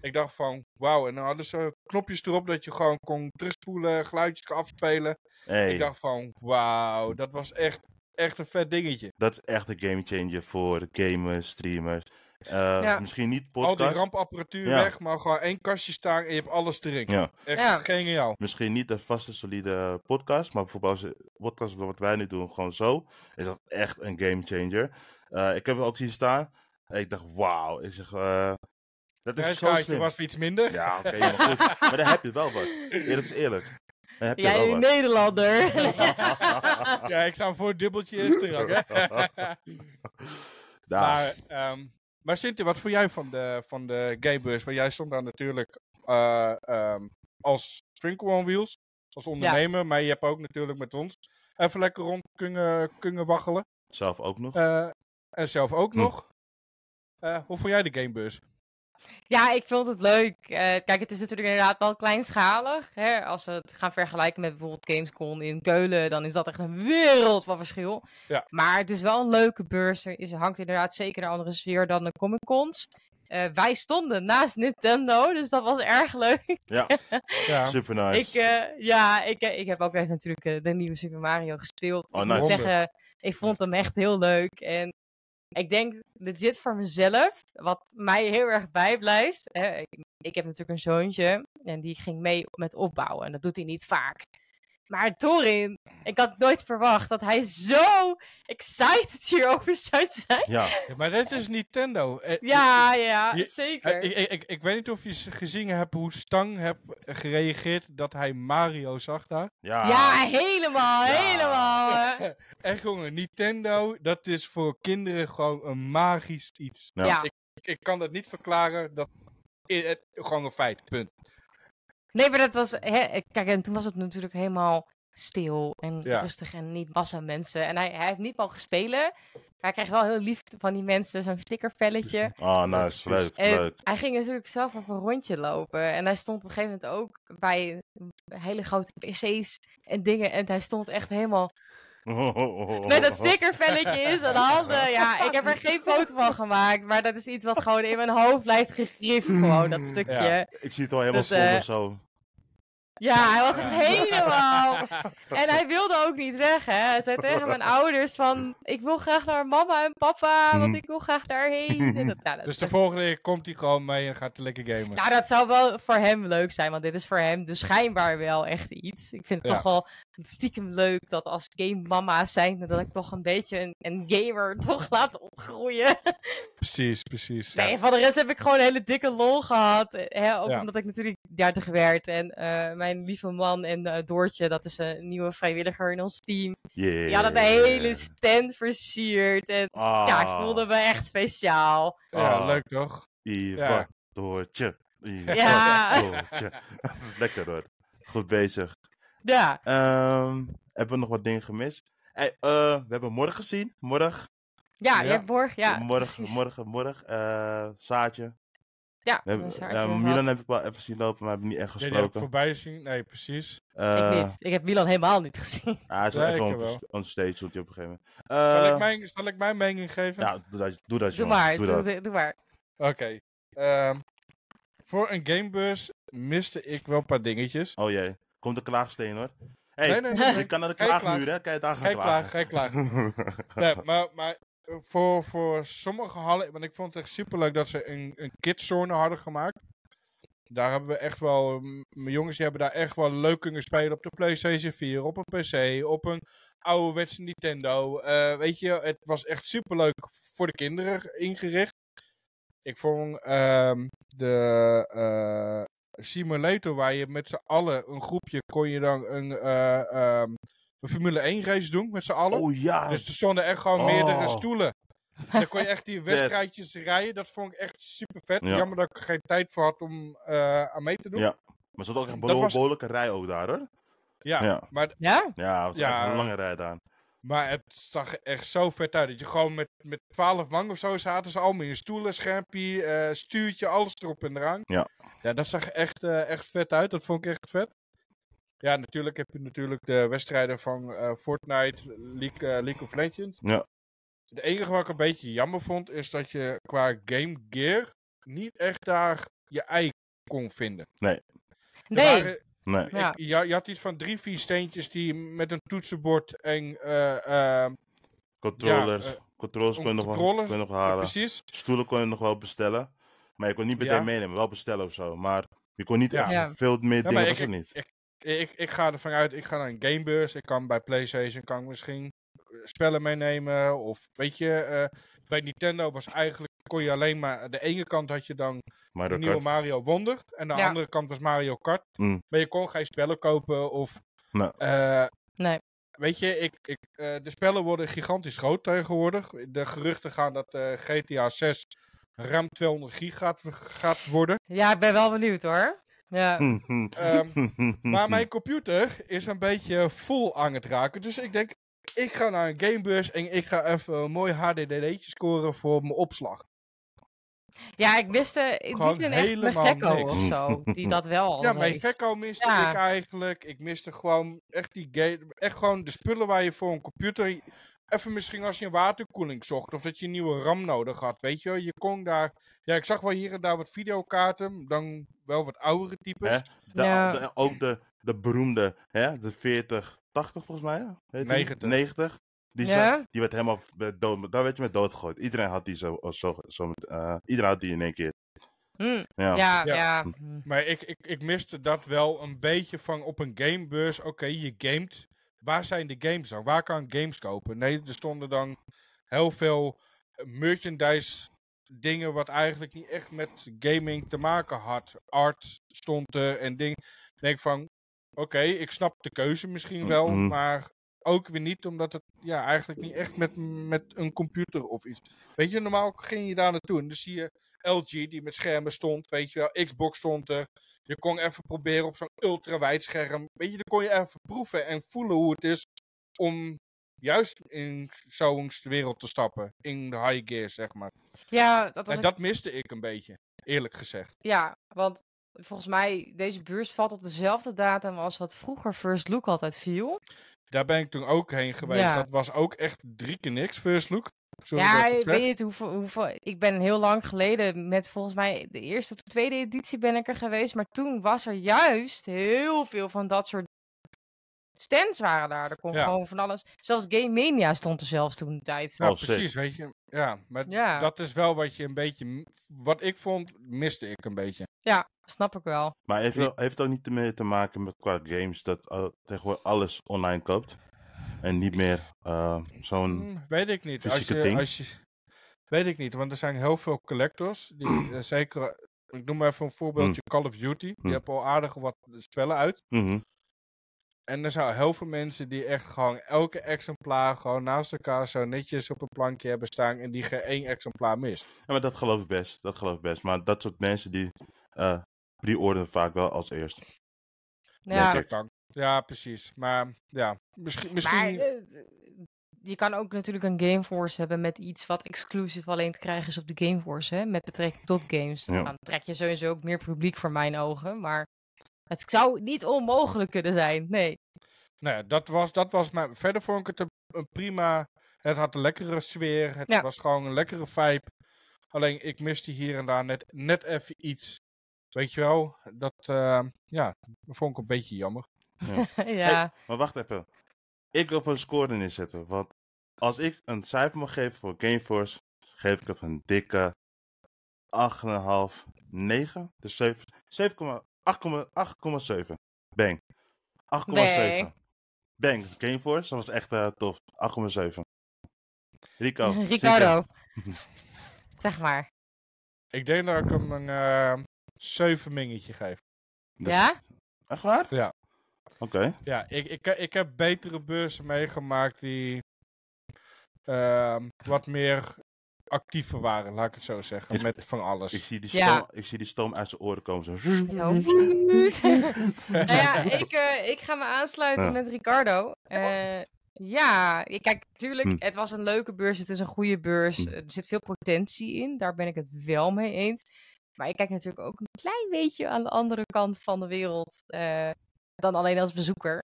Speaker 1: ik dacht van wauw en dan hadden ze knopjes erop dat je gewoon kon terugspoelen, geluidjes kan afspelen.
Speaker 2: Hey,
Speaker 1: Ik dacht van wauw, dat was echt, echt een vet dingetje.
Speaker 2: dat is echt een game changer voor gamers, streamers. Eh,
Speaker 3: Ja.
Speaker 2: Misschien niet
Speaker 1: Al
Speaker 2: podcast.
Speaker 1: die rampapparatuur
Speaker 2: Ja.
Speaker 1: weg, maar gewoon één kastje staan en je hebt alles erin.
Speaker 2: Ja.
Speaker 1: Echt
Speaker 3: Ja.
Speaker 1: geniaal.
Speaker 2: Misschien niet een vaste, solide podcast, maar bijvoorbeeld als je- podcast wat wij nu doen, gewoon zo, is dat echt een game changer. Eh, ik heb er ook zien staan. En ik dacht, wauw. Ik zeg, eh, dat is zo
Speaker 1: Prijskaartje
Speaker 2: slim.
Speaker 1: was iets minder.
Speaker 2: Ja, oké, maar goed. Maar daar heb je wel wat. Eerlijk is eerlijk. Daar heb je
Speaker 3: Jij,
Speaker 2: wel wat.
Speaker 3: Nederlander.
Speaker 1: Ja, ik sta voor het dubbeltje in de rang, hè.
Speaker 2: Daar.
Speaker 1: Maar, ehm maar Sinti, wat vond jij van de, van de gamebeurs? Want jij stond daar natuurlijk eh, ehm, als Sprinkle on Wheels, als ondernemer, maar je hebt ook natuurlijk met ons even lekker rond kunnen, kunnen waggelen.
Speaker 2: Zelf ook nog.
Speaker 1: Eh, en zelf ook
Speaker 2: Hm.
Speaker 1: nog. Eh, hoe vond jij de gamebeurs?
Speaker 3: Ja, ik vond het leuk. Eh, kijk, het is natuurlijk inderdaad wel kleinschalig. Hè? Als we het gaan vergelijken met bijvoorbeeld Gamescom in Keulen, dan is dat echt een wereld van verschil.
Speaker 1: Ja.
Speaker 3: Maar het is wel een leuke beurs. Er is, hangt inderdaad zeker een andere sfeer dan de Comic Cons. Eh, wij stonden naast Nintendo, dus dat was erg leuk.
Speaker 2: Ja,
Speaker 1: Ja,
Speaker 2: super nice.
Speaker 3: Ik, eh, ja, ik, eh, ik heb ook even natuurlijk eh, de nieuwe Super Mario gespeeld.
Speaker 2: Oh,
Speaker 3: ik
Speaker 2: nice.
Speaker 3: moet zeggen, ik vond hem echt heel leuk. En ik denk legit voor mezelf, wat mij heel erg bijblijft. Hè, ik, ik heb natuurlijk een zoontje en die ging mee met opbouwen. En dat doet hij niet vaak. Maar Torin, ik had nooit verwacht dat hij zo excited hierover zou zijn.
Speaker 2: Ja,
Speaker 1: maar dit is Nintendo. Eh,
Speaker 3: Ja, ja,
Speaker 1: Je-
Speaker 3: zeker.
Speaker 1: eh, Ik, ik, ik, ik weet niet of je s- gezien hebt hoe Stang heb gereageerd dat hij Mario zag daar.
Speaker 2: ja.
Speaker 3: ja, helemaal,
Speaker 2: ah. Ja.
Speaker 3: helemaal. hè.
Speaker 1: Echt jongen, Nintendo, dat is voor kinderen gewoon een magisch iets.
Speaker 2: Ja.
Speaker 3: ja.
Speaker 1: ik, ik kan dat niet verklaren. Dat i- het, gewoon een feit, punt.
Speaker 3: Nee, maar dat was. Hè, kijk, en toen was het natuurlijk helemaal stil en
Speaker 1: Ja.
Speaker 3: rustig en niet massa mensen. En hij, hij heeft niet mogen spelen. Maar hij kreeg wel heel lief van die mensen, zo'n stickervelletje.
Speaker 2: Oh,
Speaker 1: Ja,
Speaker 2: nice.
Speaker 1: precies.
Speaker 2: Leuk,
Speaker 3: En
Speaker 2: leuk.
Speaker 3: hij ging natuurlijk zelf even een rondje lopen. En hij stond op een gegeven moment ook bij hele grote PC's en dingen. En hij stond echt helemaal
Speaker 2: Oh.
Speaker 3: met dat stickervelletje in zijn handen. Ja, ik heb er geen foto van gemaakt. Maar dat is iets wat gewoon in mijn hoofd blijft gegrift. Gewoon dat stukje.
Speaker 1: Ja.
Speaker 2: Ik zie het al helemaal
Speaker 3: Dat,
Speaker 2: zonder
Speaker 3: eh,
Speaker 2: zo.
Speaker 3: Ja, hij was echt helemaal. En hij wilde ook niet weg, hè? Hij zei tegen mijn ouders van... Ik wil graag naar mama en papa, want
Speaker 2: Mhm.
Speaker 3: ik wil graag daarheen. En dat, nou, dat,
Speaker 1: Hmm. Dus de volgende keer komt hij gewoon mee en gaat hij lekker gamen.
Speaker 3: nou, dat zou wel voor hem leuk zijn, want dit is voor hem dus schijnbaar wel echt iets. Ik vind het
Speaker 1: Ja.
Speaker 3: toch wel stiekem leuk dat als game-mama's zijn... dat ik toch een beetje een, een gamer toch laat opgroeien.
Speaker 1: Precies, precies.
Speaker 3: Nee, van de rest heb ik gewoon een hele dikke lol gehad. eh, Hè? Ook
Speaker 1: Ja.
Speaker 3: omdat ik natuurlijk dertig werd. En eh, mijn lieve man en eh, Doortje, dat is een nieuwe vrijwilliger in ons team...
Speaker 2: Yeah.
Speaker 3: Ja, dat de hele stand versierd. En
Speaker 2: Ah,
Speaker 3: ja, ik voelde me echt speciaal.
Speaker 1: Ja,
Speaker 2: Ah.
Speaker 1: leuk toch?
Speaker 2: Ivan
Speaker 1: Ja.
Speaker 2: Doortje. Ivan
Speaker 3: Ja.
Speaker 2: Doortje. Lekker hoor. Goed bezig.
Speaker 3: Ja.
Speaker 2: eh, Ehm, hebben we nog wat dingen gemist? Hey, eh, we hebben morgen gezien. Morgen
Speaker 3: Ja,
Speaker 1: Ja.
Speaker 3: je hebt borg, ja.
Speaker 2: morgen,
Speaker 3: precies.
Speaker 2: morgen, morgen. eh, Saatje.
Speaker 3: Ja,
Speaker 2: We hebben-
Speaker 3: dat is waar,
Speaker 2: ja,
Speaker 3: het inderdaad.
Speaker 2: Milan heb ik wel even zien lopen, maar heb ik niet echt
Speaker 1: Ja, die heb ik
Speaker 2: gesproken.
Speaker 1: voorbij zien. Nee, precies.
Speaker 2: Eh,
Speaker 3: Ik niet. Ik heb Milan helemaal niet gezien.
Speaker 2: ja, hij is wel
Speaker 1: Ja,
Speaker 2: even
Speaker 1: ik
Speaker 2: on,
Speaker 1: wel.
Speaker 2: on stage, doet hij op een gegeven moment.
Speaker 1: Zal,
Speaker 2: Eh,
Speaker 1: ik mijn, zal ik mijn mening geven?
Speaker 2: Ja, doe dat, doe dat
Speaker 3: Doe
Speaker 2: jongens,
Speaker 3: maar,
Speaker 2: doe
Speaker 3: doe,
Speaker 2: dat.
Speaker 3: doe- doe maar.
Speaker 1: Oké. ehm, voor een gamebus miste ik wel een paar dingetjes.
Speaker 2: Oh jee, komt de klaagsteen hoor. Hey,
Speaker 1: nee, nee, nee.
Speaker 2: je
Speaker 1: nee.
Speaker 2: kan naar de
Speaker 1: Geen
Speaker 2: klaagmuur, hè? Kan je daar gaan
Speaker 1: Geen klagen,
Speaker 2: klagen?
Speaker 1: geen klagen. Nee, maar, maar eh, voor, voor sommige hallen, want ik vond het echt superleuk dat ze een, een kidzone hadden gemaakt. Daar hebben we echt wel, m- mijn jongens die hebben daar echt wel leuk kunnen spelen op de PlayStation 4, op een PC, op een ouderwetse Nintendo. Eh, weet je, het was echt superleuk voor de kinderen g- ingericht. Ik vond ehm, de eh, simulator waar je met z'n allen, een groepje, kon je dan een, eh, ehm, een Formule 1 race doen met z'n allen.
Speaker 2: oh ja,
Speaker 1: Dus er stonden echt gewoon
Speaker 2: Oh.
Speaker 1: meerdere stoelen. Dan kon je echt die wedstrijdjes rijden. Dat vond ik echt super vet.
Speaker 2: Ja.
Speaker 1: Jammer dat ik er geen tijd voor had om eh, aan mee te doen.
Speaker 2: Ja. maar er zat ook echt een
Speaker 1: Dat was-
Speaker 2: behoorlijke rij ook daar hoor.
Speaker 1: Ja,
Speaker 2: Ja.
Speaker 1: Maar,
Speaker 3: Ja?
Speaker 2: Ja, het was
Speaker 1: Ja. eh,
Speaker 2: echt een lange rij daar.
Speaker 1: maar het zag er echt zo vet uit. Dat je gewoon met, met 12 man of zo zaten. Ze allemaal in een stoelen, schermpje, eh, stuurtje, alles erop en eraan.
Speaker 2: Ja.
Speaker 1: ja dat zag er echt, eh, echt vet uit. Dat vond ik echt vet. Ja, natuurlijk heb je natuurlijk de wedstrijden van eh, Fortnite, League, eh, League of Legends.
Speaker 2: Ja.
Speaker 1: Het enige wat ik een beetje jammer vond, is dat je qua Game Gear niet echt daar je ei kon vinden. Er
Speaker 3: Nee.
Speaker 1: waren-
Speaker 2: Nee.
Speaker 3: Ja.
Speaker 1: ik- ja, je had iets van drie, vier steentjes die met een toetsenbord en eh, eh,
Speaker 2: Controllers.
Speaker 1: Ja, eh,
Speaker 2: controllers kon je nog, wel-
Speaker 1: controllers,
Speaker 2: kon je nog halen.
Speaker 1: precies.
Speaker 2: Stoelen kon je nog wel bestellen. Maar je kon niet meteen
Speaker 1: Ja.
Speaker 2: meenemen, wel bestellen of zo. Maar je kon niet
Speaker 1: Ja.
Speaker 2: echt
Speaker 3: Ja.
Speaker 2: veel meer dingen,
Speaker 1: maar
Speaker 2: was
Speaker 1: ik-
Speaker 2: het niet.
Speaker 1: Ik, ik ga ervan uit, ik ga naar een gamebeurs. Ik kan bij PlayStation kan ik misschien eh, spellen meenemen. Of weet je, eh, bij Nintendo was eigenlijk, kon je alleen maar, de ene kant had je dan
Speaker 2: Maar
Speaker 1: de
Speaker 2: dat
Speaker 1: nieuwe
Speaker 2: kan.
Speaker 1: Mario Wonder. En de
Speaker 3: Ja.
Speaker 1: andere kant was Mario Kart.
Speaker 2: Mm.
Speaker 1: Maar je kon geen spellen kopen of...
Speaker 2: Nee.
Speaker 1: eh,
Speaker 3: Nee.
Speaker 1: Weet je, ik, ik, eh, de spellen worden gigantisch groot tegenwoordig. De geruchten gaan dat eh, GTA 6 ruim 200 gig gaat, gaat worden.
Speaker 3: Ja, ik ben wel benieuwd hoor. Ja.
Speaker 2: Hm.
Speaker 1: Ehm,
Speaker 2: Mhm.
Speaker 1: Maar mijn computer is een beetje vol aan het raken. Dus ik denk, ik ga naar een gamebus en ik ga even een mooi HDDD'tje scoren voor mijn opslag.
Speaker 3: Ja, ik miste in die
Speaker 1: Gewoon
Speaker 3: zin echt mijn
Speaker 1: helemaal
Speaker 3: gekko
Speaker 1: niks.
Speaker 3: of zo.
Speaker 2: Hm.
Speaker 3: Die dat wel al
Speaker 1: Ja, mijn
Speaker 3: heeft.
Speaker 1: gekko miste
Speaker 3: Ja.
Speaker 1: ik eigenlijk. Ik miste gewoon echt die game. Echt gewoon de spullen waar je voor een computer. Even misschien als je een waterkoeling zocht. Of dat je een nieuwe RAM nodig had. Weet je, wel. je kon daar. Ja, ik zag wel hier en daar wat videokaarten. Dan wel wat oudere types.
Speaker 2: Hè? De-
Speaker 3: Ja.
Speaker 2: de- ook de, de beroemde, hè? de 40, 80 volgens mij. hè? Heet die?
Speaker 1: 90.
Speaker 2: 90. Die,
Speaker 3: Ja.
Speaker 2: zijn- die werd helemaal met dood, daar werd je met dood gegooid. Iedereen had die zo, zo, zo met- eh, iedereen had die in één keer.
Speaker 3: Hm,
Speaker 2: Ja.
Speaker 3: Ja,
Speaker 1: Ja.
Speaker 3: ja.
Speaker 1: Maar ik, ik, ik miste dat wel een beetje van op een gamebeurs. Oké, je gamet. Waar zijn de games dan? Waar kan ik games kopen? Nee, er stonden dan heel veel eh, merchandise dingen wat eigenlijk niet echt met gaming te maken had. Art stond er en ding. Ik denk van, oké, ik snap de keuze misschien wel,
Speaker 2: Mhm.
Speaker 1: maar ook weer niet, omdat het ja, eigenlijk niet echt met, met een computer of iets. Weet je, normaal ging je daar naartoe en dan zie je LG die met schermen stond, weet je wel, Xbox stond er. Je kon even proberen op zo'n ultrawijd scherm. Weet je, dan kon je even proeven en voelen hoe het is om juist in zo'n wereld te stappen. In de high gear, zeg maar.
Speaker 3: ja, dat was
Speaker 1: En dat miste ik een beetje, eerlijk gezegd.
Speaker 3: Ja, want volgens mij, deze beurs valt op dezelfde datum als wat vroeger First Look altijd viel.
Speaker 1: Daar ben ik toen ook heen geweest.
Speaker 3: Ja.
Speaker 1: Dat was ook echt drie keer niks, first look. Sorry dat
Speaker 3: ja,
Speaker 1: ik het
Speaker 3: ik
Speaker 1: zeg.
Speaker 3: weet niet hoeveel, hoeveel... Ik ben heel lang geleden met volgens mij de eerste of de tweede editie ben ik er geweest. Maar toen was er juist heel veel van dat soort stands waren daar. Er kon
Speaker 1: Ja.
Speaker 3: gewoon van alles... Zelfs Game Mania stond er zelfs toen de tijd.
Speaker 1: Ja,
Speaker 2: Oh, sick.
Speaker 1: precies, weet je. Ja, maar
Speaker 3: Ja.
Speaker 1: dat is wel wat je een beetje... m- Wat ik vond, miste ik een beetje.
Speaker 3: Ja, snap ik wel.
Speaker 2: Maar heeft, wel- heeft het ook niet meer te maken met qua games dat al- tegenwoordig alles online koopt? En niet meer eh, zo'n.
Speaker 1: Hm, weet ik niet. Als
Speaker 2: fysieke
Speaker 1: je,
Speaker 2: ding?
Speaker 1: als je, weet ik niet, want er zijn heel veel collectors. Die, eh, zeker, ik noem maar even een voorbeeldje, Call of Duty. Die
Speaker 2: Hm.
Speaker 1: hebben al aardig wat spellen uit.
Speaker 2: Mhm.
Speaker 1: En er zijn heel veel mensen die echt gewoon elke exemplaar gewoon naast elkaar zo netjes op een plankje hebben staan en die geen één exemplaar mist.
Speaker 2: Ja, maar dat geloof ik best. Dat geloof ik best. Maar dat soort mensen die eh pre-orderen vaak wel als eerst.
Speaker 3: Ja,
Speaker 2: Leuk.
Speaker 1: Dat kan. Ja, precies. Maar ja, misschien, misschien
Speaker 3: maar... eh, je kan ook natuurlijk een Game Force hebben met iets wat exclusief alleen te krijgen is op de Game Force, hè, met betrekking tot games.
Speaker 2: Ja.
Speaker 3: Dan trek je sowieso ook meer publiek voor mijn ogen, maar het zou niet onmogelijk kunnen zijn. Nee.
Speaker 1: Nou ja, dat was, dat was mijn... Verder vond ik het een, een prima... Het had een lekkere sfeer. Het
Speaker 3: Ja.
Speaker 1: was gewoon een lekkere vibe. Alleen, ik miste hier en daar net, net even iets. Weet je wel? Dat, eh, ja, dat vond ik een beetje jammer.
Speaker 3: ja.
Speaker 2: Maar wacht even. Ik wil voor een score erin zetten. Want als ik een cijfer mag geven voor Gameforce, geef ik het een dikke 8,5, 9. Dus 7, 8,7. Bang. 8,7.
Speaker 3: Bang.
Speaker 2: Bang. Gameforce, dat was echt eh, tof. 8,7. Rico. zeker.
Speaker 3: Ricardo. zeg maar.
Speaker 1: Ik denk dat ik hem een eh 7 mingetje geef.
Speaker 2: Dus-
Speaker 3: ja?
Speaker 2: Echt waar?
Speaker 1: Ja.
Speaker 2: Oké.
Speaker 1: Ja, ik, ik, ik heb betere beurzen meegemaakt die ehm, wat meer actiever waren, laat ik het zo zeggen.
Speaker 2: Ik-
Speaker 1: Met van alles.
Speaker 2: Ik zie die
Speaker 3: Ja.
Speaker 2: stoom, ik zie die stoom uit zijn oren komen. Zo.
Speaker 3: Ja. nou ja, ik, eh, ik ga me aansluiten
Speaker 2: Ja.
Speaker 3: met Ricardo. Eh, ja, ik- kijk, tuurlijk,
Speaker 2: Hm.
Speaker 3: het was een leuke beurs. Het is een goede beurs.
Speaker 2: Hm.
Speaker 3: Er zit veel potentie in. Daar ben ik het wel mee eens. Maar ik kijk natuurlijk ook een klein beetje aan de andere kant van de wereld eh, dan alleen als bezoeker.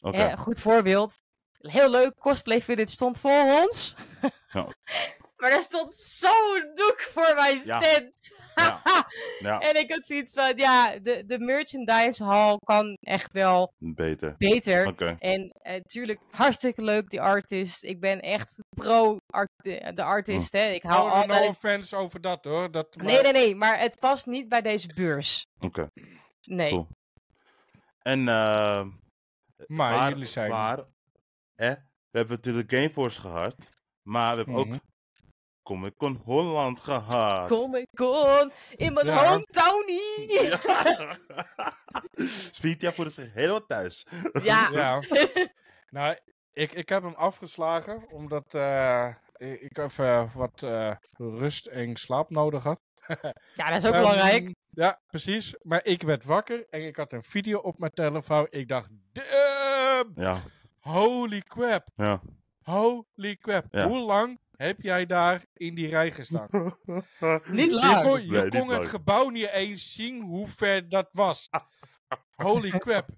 Speaker 2: Oké.
Speaker 3: Hè, goed voorbeeld. Heel leuk, Cosplay Village stond voor ons.
Speaker 2: Ja.
Speaker 3: maar er stond zo'n doek voor mijn
Speaker 2: Ja.
Speaker 3: stand.
Speaker 2: Ja. Ja,
Speaker 3: en ik had zoiets van, ja, de, de merchandise hall kan echt wel
Speaker 2: beter.
Speaker 3: beter.
Speaker 2: Oké.
Speaker 3: En natuurlijk, hartstikke leuk, die artist. Ik ben echt pro art- de, de artist,
Speaker 2: Oh.
Speaker 3: hè. Ik hou
Speaker 1: no, no
Speaker 3: altijd...
Speaker 1: offense over dat hoor. Dat,
Speaker 3: Nee, nee, nee, maar het past niet bij deze beurs.
Speaker 2: Oké.
Speaker 3: Nee.
Speaker 2: Cool. En, eh,
Speaker 1: Maar, jullie zijn.
Speaker 2: maar, hè, we hebben natuurlijk Gameforce gehad, maar we hebben
Speaker 1: Mhm.
Speaker 2: ook Comic Con Holland gehad.
Speaker 3: Comic Con in mijn
Speaker 1: Ja.
Speaker 3: hometownie.
Speaker 2: Ja. Sweetia voelde zich helemaal thuis.
Speaker 3: Ja.
Speaker 1: Ja. nou, ik, ik heb hem afgeslagen omdat eh, ik ik even wat eh, rust en slaap nodig had.
Speaker 3: ja, dat is ook
Speaker 1: Ehm,
Speaker 3: belangrijk.
Speaker 1: Ja, precies. Maar ik werd wakker en ik had een video op mijn telefoon. Ik dacht, damn,
Speaker 2: Ja,
Speaker 1: holy crap.
Speaker 2: ja.
Speaker 1: Holy crap.
Speaker 2: Ja.
Speaker 1: Hoe lang heb jij daar in die rij gestaan?
Speaker 3: Niet
Speaker 1: Je
Speaker 3: lang.
Speaker 1: kon, je
Speaker 2: Nee, niet
Speaker 1: kon het
Speaker 2: lang.
Speaker 1: gebouw niet eens zien hoe ver dat was. Holy crap.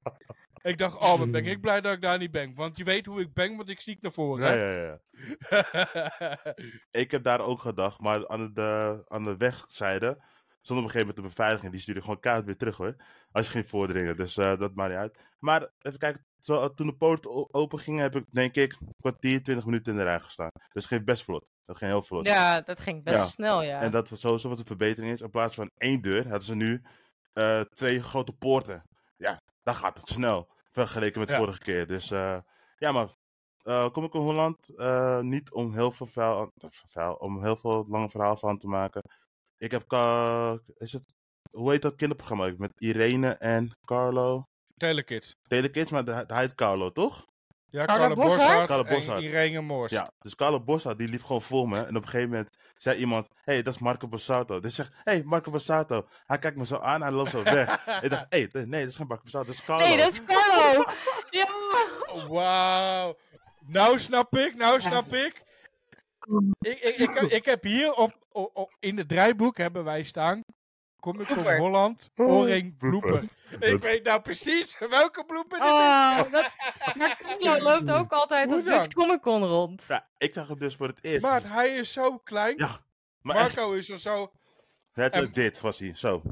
Speaker 1: Ik dacht, oh, wat ben
Speaker 2: Hmm.
Speaker 1: ik blij dat ik daar niet ben. Want je weet hoe ik ben, want ik sneak naar voren.
Speaker 2: Ja,
Speaker 1: hè?
Speaker 2: ja, ja. Ik heb daar ook gedacht, maar aan de, aan de wegzijde stond op een gegeven moment de beveiliging. Die stuurde gewoon kaart weer terug hoor. Als je ging voordringen, dus eh, dat maakt niet uit. Maar even kijken, zo, toen de poort o- open ging, heb ik denk ik een kwartier, twintig minuten in de rij gestaan. Dus het ging best vlot. Dat ging heel vlot.
Speaker 3: Ja, dat ging best
Speaker 2: Ja.
Speaker 3: snel, ja.
Speaker 2: En dat was sowieso wat een verbetering is. In plaats van één deur hadden ze nu eh, twee grote poorten. Ja, dan gaat het snel. Vergeleken met
Speaker 1: Ja.
Speaker 2: vorige keer. Dus eh, ja, maar eh, kom ik in Holland eh, niet om heel veel verhaal, eh, verhaal- om heel veel lange verhaal van te maken. Ik heb, ka- is het, hoe heet dat kinderprogramma? ook? Met Irene en Carlo.
Speaker 1: Telekids.
Speaker 2: Telekids, maar de- hij heet Carlo, toch?
Speaker 1: Ja,
Speaker 3: Carla
Speaker 1: Carla
Speaker 3: Boszhard?
Speaker 1: Boszhard
Speaker 2: Carla
Speaker 1: en
Speaker 2: Boszhard.
Speaker 1: Irene Moors.
Speaker 2: Ja, dus Carlo Bossa die liep gewoon voor me. En op een gegeven moment zei iemand: Hé, hey, dat is Marco Borsato. Dus ik zeg: Hé, hey, Marco Borsato. Hij kijkt me zo aan, hij loopt zo weg. ik dacht: Hé, hey, nee, dat is geen Marco Borsato, dat is Carlo.
Speaker 3: Nee, dat is Carlo. ja.
Speaker 2: oh.
Speaker 1: Wauw. Nou snap ik, nou snap ik. Ik, ik, ik, heb, ik heb hier op, op- op- in het draaiboek hebben wij staan. Kom ik op
Speaker 3: Blooper.
Speaker 1: Holland, oorring, bloepen. Ik
Speaker 2: Oh, Dat-
Speaker 1: weet nou precies welke bloepen dit is.
Speaker 3: Oh, dat, maar Carlo loopt ook altijd
Speaker 1: Hoe
Speaker 3: op
Speaker 1: dan?
Speaker 3: Dutch Comic Con rond.
Speaker 2: Ja, ik zag hem dus voor het eerst.
Speaker 1: Maar hij is zo klein.
Speaker 2: Ja, maar echt,
Speaker 1: Marco is er zo.
Speaker 2: letterlijk dit was hij, zo.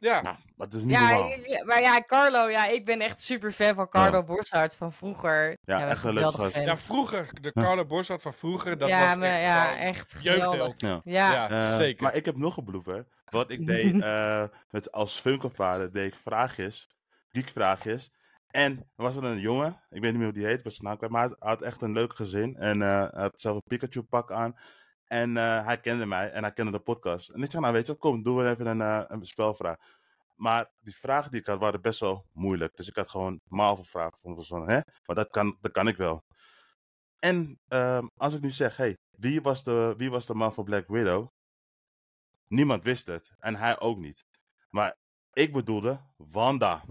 Speaker 1: Ja,
Speaker 2: Nou, dat is niet
Speaker 3: Ja,
Speaker 2: normaal.
Speaker 3: ja, maar ja, Carlo, ja, ik ben echt super fan van Carlo Borshard van vroeger.
Speaker 2: Ja,
Speaker 3: wat
Speaker 2: echt een leuk
Speaker 3: geweldige
Speaker 2: gast.
Speaker 3: vent.
Speaker 1: ja vroeger. De Carlo Boszard van vroeger. Dat
Speaker 3: ja,
Speaker 1: was
Speaker 3: maar,
Speaker 1: echt
Speaker 3: ja,
Speaker 1: gewoon
Speaker 3: echt geweldig.
Speaker 1: jeugdheld.
Speaker 3: Ja.
Speaker 1: Ja,
Speaker 2: Eh,
Speaker 1: zeker.
Speaker 2: Maar ik heb nog een blooper. Wat ik deed eh, met, als Funkelvader, deed ik vraagjes, geekvraagjes. En er was er een jongen, ik weet niet meer hoe die heet, was zijn naam kwijt, maar hij had echt een leuk gezin. En eh, hij had zelf een Pikachu-pak aan. En eh, hij kende mij en hij kende de podcast. En ik zei, nou weet je wat, kom, doen we even een, eh, een spelvraag. Maar die vragen die ik had, waren best wel moeilijk. Dus ik had gewoon Marvel-vragen van, van hè? Maar dat kan, dat kan ik wel. En ehm, als ik nu zeg, hey, wie was de, wie was de man van Black Widow? Niemand wist het. En hij ook niet. Maar ik bedoelde Wanda.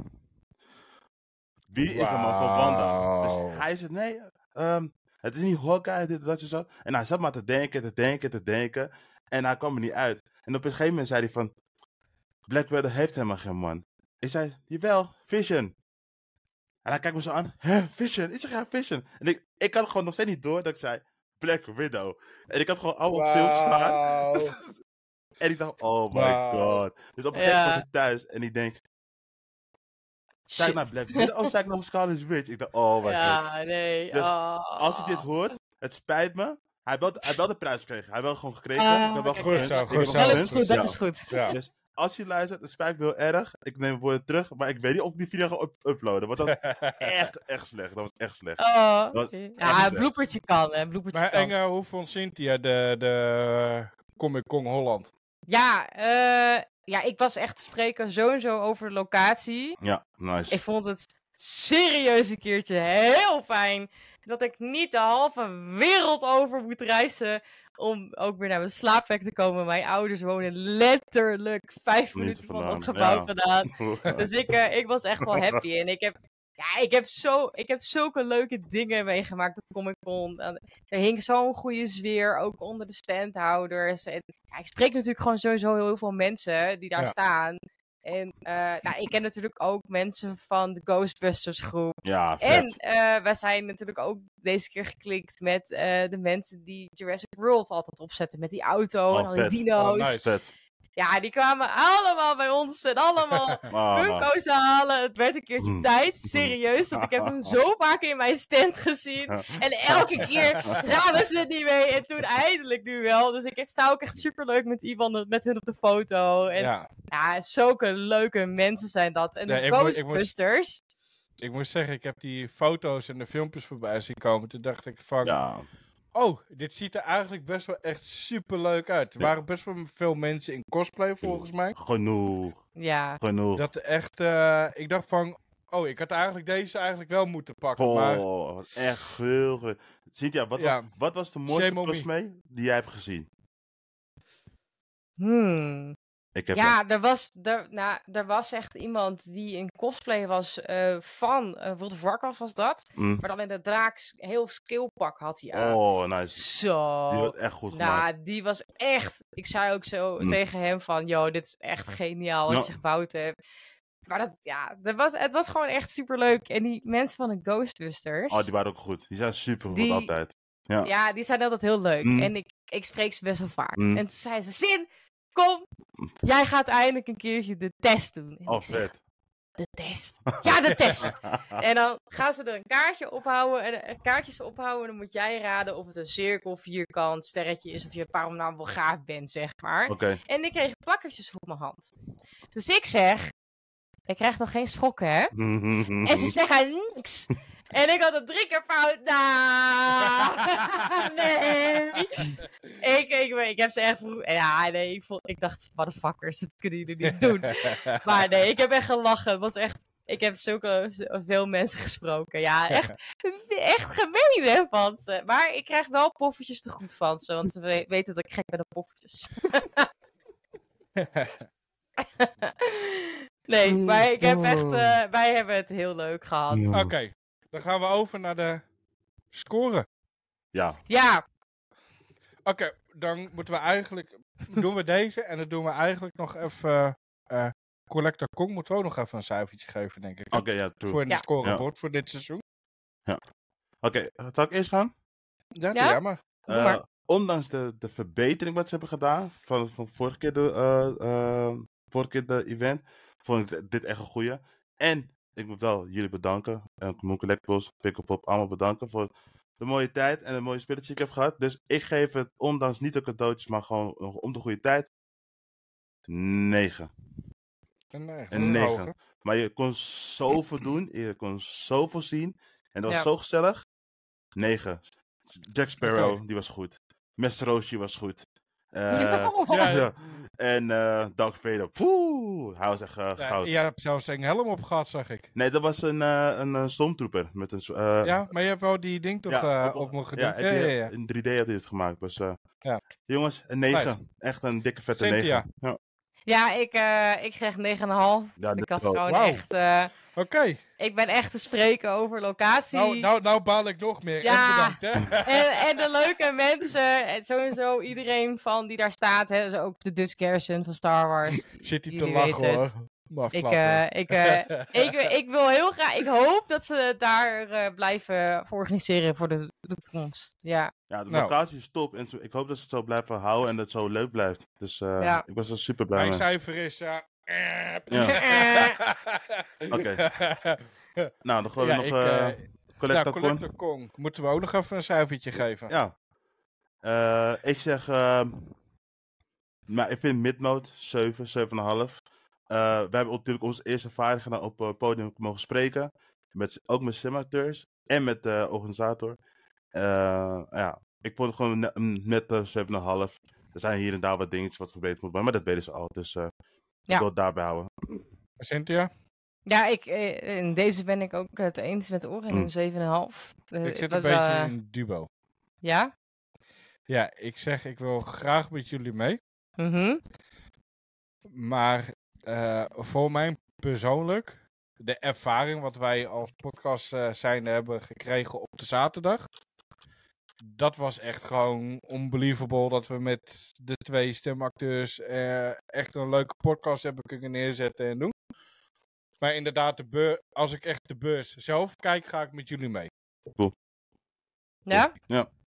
Speaker 2: Wie is de man van Wanda? Dus
Speaker 1: Wauw.
Speaker 2: hij zei, nee, ehm, Het is niet Hawkeye, dit, dat, en zo. En hij zat maar te denken, te denken, te denken. En hij kwam er niet uit. En op een gegeven moment zei hij van... Black Widow heeft helemaal geen man. Ik zei, jawel, Vision. En hij kijkt me zo aan. Hè, Vision? Is er geen Vision? En ik, ik had gewoon nog steeds niet door dat ik zei... Black Widow. En ik had gewoon oude films staan.
Speaker 1: Wauw.
Speaker 2: En ik dacht, oh my
Speaker 1: Wauw.
Speaker 2: god. Dus op een gegeven moment
Speaker 3: Ja.
Speaker 2: was ik thuis en ik denk, zei
Speaker 3: Shit.
Speaker 2: ik naar Black Widow of zei ik naar Scarlet Witch? Ik dacht, oh my god.
Speaker 3: ja, nee.
Speaker 2: Dus
Speaker 3: oh.
Speaker 2: Als hij dit hoort, het spijt me. Hij had hij wel de prijs gekregen. Hij had wel gewoon gekregen.
Speaker 3: Ah,
Speaker 2: ik heb wel
Speaker 3: oké,
Speaker 1: Goed
Speaker 2: gegund.
Speaker 1: zo,
Speaker 2: Ik heb
Speaker 1: goed
Speaker 2: wel
Speaker 1: zo.
Speaker 3: Dat
Speaker 2: gegund.
Speaker 3: is goed, dat
Speaker 2: Ja.
Speaker 3: is goed.
Speaker 1: Ja.
Speaker 2: Dus als je luistert, het spijt me heel erg. Ik neem woorden terug, maar ik weet niet of ik die video ga up- uploaden. Want dat was echt, echt slecht. Dat was echt slecht.
Speaker 3: Oh,
Speaker 2: Dat echt
Speaker 3: ja,
Speaker 2: erg.
Speaker 3: een bloepertje kan, hè, een bloepertje
Speaker 1: Maar
Speaker 3: kan.
Speaker 1: Enge, hoe vond Cynthia de, de Comic Con Holland?
Speaker 3: Ja, eh, ja, ik was echt te spreken sowieso over de locatie.
Speaker 2: Ja, nice.
Speaker 3: Ik vond het serieus een keertje heel fijn dat ik niet de halve wereld over moet reizen om ook weer naar mijn slaapplek te komen. Mijn ouders wonen letterlijk vijf
Speaker 2: Minuten
Speaker 3: minuten van
Speaker 2: vandaan,
Speaker 3: dat gebouw
Speaker 2: ja.
Speaker 3: vandaan. Dus ik, eh, ik was echt wel happy. En ik heb, ja, ik heb, zo, ik heb zulke leuke dingen meegemaakt op Comic Con. En Er hing zo'n goede sfeer, ook onder de standhouders. En, ja, ik spreek natuurlijk gewoon sowieso heel veel mensen die daar
Speaker 1: Ja.
Speaker 3: staan. En eh, nou, ik ken natuurlijk ook mensen van de Ghostbusters groep.
Speaker 2: ja, vet.
Speaker 3: En eh, wij zijn natuurlijk ook deze keer geklikt met eh, de mensen die Jurassic World altijd opzetten. Met die auto
Speaker 2: Oh,
Speaker 3: en al die
Speaker 2: vet. Oh,
Speaker 3: dino's.
Speaker 1: nice.
Speaker 2: Vet.
Speaker 3: Ja, die kwamen allemaal bij ons en allemaal
Speaker 2: Ah, man.
Speaker 3: Funko's halen. Het werd een keertje
Speaker 2: Mm.
Speaker 3: tijd, serieus. Want ik heb hem zo vaak in mijn stand gezien. En elke keer raden ze het niet mee. En toen eindelijk nu wel. Dus ik heb- sta ook echt super leuk met iemand met hun op de foto. En ja.
Speaker 1: Ja,
Speaker 3: zulke leuke mensen zijn dat. En
Speaker 1: Ja,
Speaker 3: de
Speaker 1: ik moet- ik moet-
Speaker 3: Ghostbusters.
Speaker 1: ik moet zeggen, ik heb die foto's en de filmpjes voorbij zien komen. Toen dacht ik van,
Speaker 2: Ja,
Speaker 1: oh, dit ziet er eigenlijk best wel echt super leuk uit. Er
Speaker 2: Ja.
Speaker 1: waren best wel veel mensen in cosplay volgens mij.
Speaker 2: genoeg.
Speaker 3: Ja.
Speaker 2: Genoeg.
Speaker 1: Dat er echt, eh, ik dacht van, oh, ik had eigenlijk deze eigenlijk wel moeten pakken. Maar
Speaker 2: Oh, wat echt heel goed. Cynthia, wat,
Speaker 1: Ja.
Speaker 2: was, wat was de mooiste
Speaker 1: Shame on me.
Speaker 2: cosplay die jij hebt gezien?
Speaker 3: Hmm.
Speaker 2: Ik heb
Speaker 3: Ja, er was, er, nou, er was echt iemand die in cosplay was eh, van eh World of Warcraft was dat.
Speaker 2: dat. Mm.
Speaker 3: Maar dan in de draak s- heel skillpak had hij aan.
Speaker 2: Oh, nice.
Speaker 3: Zo.
Speaker 2: Die wordt echt goed gemaakt.
Speaker 3: Nou, die was echt. Ik zei ook zo
Speaker 2: Mm.
Speaker 3: tegen hem van, yo, dit is echt geniaal wat
Speaker 2: Ja.
Speaker 3: je gebouwd hebt. Maar dat, ja, dat was, het was gewoon echt superleuk. En die mensen van de Ghostbusters,
Speaker 2: Oh, die waren ook goed. Die zijn super goed
Speaker 3: Die-
Speaker 2: altijd.
Speaker 3: ja.
Speaker 2: ja.
Speaker 3: die zijn altijd heel leuk.
Speaker 2: Mm.
Speaker 3: En ik, ik spreek ze best wel vaak.
Speaker 2: Mm.
Speaker 3: En toen zei ze, Zin, kom, jij gaat eindelijk een keertje de test doen. En
Speaker 2: Oh,
Speaker 3: ik zeg,
Speaker 2: vet.
Speaker 3: De test. Ja, de test. En dan gaan ze er een kaartje ophouden. En eh, kaartjes ophouden. En dan moet jij raden of het een cirkel, vierkant, sterretje is. Of je paromnaam wel gaaf bent, zeg maar.
Speaker 2: Oké.
Speaker 3: En ik kreeg plakkertjes op mijn hand. Dus ik zeg. Ik krijg nog geen schokken, hè? En
Speaker 2: Mhm.
Speaker 3: ze zeggen niks. En ik had het drie keer fout. Nou, nee. Ik, ik, ik heb ze echt. vroeg- Ja, nee. Ik, vond, ik dacht, motherfuckers, dat kunnen jullie niet doen. Maar nee, ik heb echt gelachen. Het was echt. Ik heb zulke z- veel mensen gesproken. Ja, echt, echt gemeen hè, van ze. Maar ik krijg wel poffertjes te goed van ze. Want ze we- weten dat ik gek ben op poffertjes. nee, maar ik heb echt, eh, wij hebben het heel leuk gehad.
Speaker 1: Oké, dan gaan we over naar de scoren.
Speaker 2: Ja,
Speaker 3: Ja,
Speaker 1: Oké, dan moeten we eigenlijk, doen we deze en dan doen we eigenlijk nog even, eh, Collector Kong moeten we ook nog even een cijfertje geven, denk ik.
Speaker 2: oké, ja, true.
Speaker 1: Voor een
Speaker 3: Ja.
Speaker 1: scorebord voor dit seizoen.
Speaker 2: Oké, eh, zal ik eerst gaan?
Speaker 1: Ja,
Speaker 3: Ja?
Speaker 1: ja? maar
Speaker 3: Doe
Speaker 2: Eh,
Speaker 3: maar.
Speaker 2: ondanks de, de verbetering wat ze hebben gedaan van, van vorige keer de, eh, eh, vorige keer de event, vond ik dit echt een goeie. En ik moet wel jullie bedanken, eh, en Moon Collectibles, Pickle Pop, allemaal bedanken voor de mooie tijd en de mooie spelletjes die ik heb gehad. Dus ik geef het, ondanks niet de cadeautjes, maar gewoon om de goede tijd, 9.
Speaker 1: een negen.
Speaker 2: Een negen.
Speaker 1: eh, Hoger.
Speaker 2: Maar je kon zoveel doen, je kon zoveel zien. En dat was
Speaker 3: Ja.
Speaker 2: zo gezellig. 9. Jack Sparrow, die was goed. Mr. Roshi was goed. Eh,
Speaker 1: Ja,
Speaker 2: ja. En eh Dark Vader, poeh, hij was echt eh,
Speaker 1: Ja,
Speaker 2: goud.
Speaker 1: je hebt zelfs een helm op gehad, zag ik.
Speaker 2: Nee, dat was een, eh een eh, stormtrooper. Met een, zo- eh,
Speaker 1: Ja, maar je hebt wel die ding toch
Speaker 2: ja,
Speaker 1: eh, op me
Speaker 2: ja,
Speaker 1: gedaan.
Speaker 2: en
Speaker 1: Ja, eh, ja, ja.
Speaker 2: die- In 3D had hij het gemaakt. Dus, eh,
Speaker 1: Ja.
Speaker 2: Jongens, een 9.
Speaker 1: Nice.
Speaker 2: Echt een dikke vette
Speaker 1: Cynthia.
Speaker 2: 9. Ja.
Speaker 3: ja ik, eh, ik kreeg 9,5.
Speaker 2: Ja,
Speaker 3: ik
Speaker 2: dit
Speaker 3: had
Speaker 2: wel.
Speaker 3: gewoon
Speaker 1: Wauw.
Speaker 3: echt. eh,
Speaker 1: Oké.
Speaker 3: Ik ben echt te spreken over locatie.
Speaker 1: Nou, nou, nou baal ik nog meer.
Speaker 3: Ja.
Speaker 1: En bedankt, hè.
Speaker 3: En, en de leuke mensen. En sowieso iedereen van die daar staat. Hè, dus ook de Dutch Garrison van Star Wars.
Speaker 1: Zit hij te
Speaker 3: Jullie
Speaker 1: lachen
Speaker 3: weten het.
Speaker 1: hoor. Maar
Speaker 3: Ik,
Speaker 1: klappen.
Speaker 3: eh, ik, eh, ik, ik wil heel graag. Ik hoop dat ze het daar eh, blijven voor organiseren voor de de toekomst. Ja,
Speaker 2: Ja, de
Speaker 1: Nou.
Speaker 2: locatie is top. En zo- ik hoop dat ze het zo blijven houden en dat het zo leuk blijft. Dus eh,
Speaker 3: Ja.
Speaker 2: ik was er super blij
Speaker 1: Mijn
Speaker 2: mee.
Speaker 1: cijfer is... eh, eh,
Speaker 2: Oké. Nou, dan gooien
Speaker 1: ja,
Speaker 2: we
Speaker 1: ik,
Speaker 2: nog eh
Speaker 1: eh, nou,
Speaker 2: Collector Con.
Speaker 1: Collector Kong. Moeten we ook nog even een cijfertje geven?
Speaker 2: Ja. Eh, ik zeg. ehm, maar ik vind midmode 7, 7,5. Eh we hebben natuurlijk onze eerste vaardiger op eh, het podium mogen spreken. Met, ook met simulateurs en met de organisator. Eh, ja, ik vond het gewoon ne- mm, eh, een nette 7,5. Er zijn hier en daar wat dingetjes wat verbeterd moet worden, maar dat weten ze al. Dus eh
Speaker 3: Ja.
Speaker 2: ik wil het daarbij houden.
Speaker 1: Cynthia?
Speaker 3: ja ik, eh, in deze ben ik ook het eens met Oren.
Speaker 2: Mm.
Speaker 3: Een 7,5. Eh,
Speaker 1: Ik zit een
Speaker 3: was
Speaker 1: beetje
Speaker 3: wel, eh,
Speaker 1: in een duo.
Speaker 3: Ja?
Speaker 1: Ja, ik zeg, ik wil graag met jullie mee.
Speaker 3: Mhm.
Speaker 1: Maar eh, voor mij persoonlijk, de ervaring wat wij als podcast eh, zijn hebben gekregen op de zaterdag. Dat was echt gewoon onbelievable dat we met de twee stemacteurs eh, echt een leuke podcast hebben kunnen neerzetten en doen. Maar inderdaad, de beur, als ik echt de beurs zelf kijk, ga ik met jullie mee.
Speaker 3: Ja?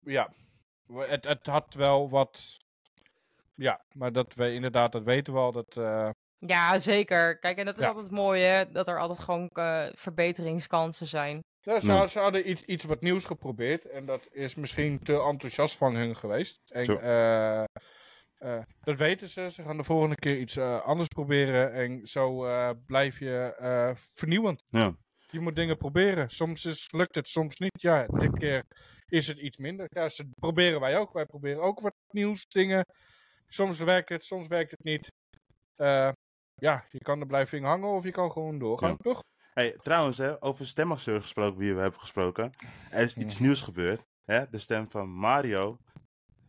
Speaker 1: Ja, we- het, het had wel wat... Ja, maar dat we inderdaad, dat weten we al. Dat, eh,
Speaker 3: Ja, zeker. Kijk, en dat is
Speaker 1: Ja.
Speaker 3: altijd mooi, hè? Dat er altijd gewoon eh, verbeteringskansen zijn.
Speaker 1: Ja, ze,
Speaker 2: Ja.
Speaker 1: ze hadden iets, iets wat nieuws geprobeerd. En dat is misschien te enthousiast van hun geweest. En,
Speaker 2: Zo.
Speaker 1: eh, eh, dat weten ze. Ze gaan de volgende keer iets eh, anders proberen. En zo eh, blijf je eh, vernieuwend.
Speaker 2: Ja.
Speaker 1: Je moet dingen proberen. Soms is, lukt het, soms niet. Ja, dit keer is het iets minder. Ja, ze proberen wij ook. Wij proberen ook wat nieuws, dingen. Soms werkt het, soms werkt het niet. Eh, ja, je kan er blijven in hangen of je kan gewoon doorgaan,
Speaker 2: Ja.
Speaker 1: toch?
Speaker 2: Hey, trouwens, hè, over stemacteur gesproken, wie we hebben gesproken. Er is iets nieuws gebeurd. Hè? De stem van Mario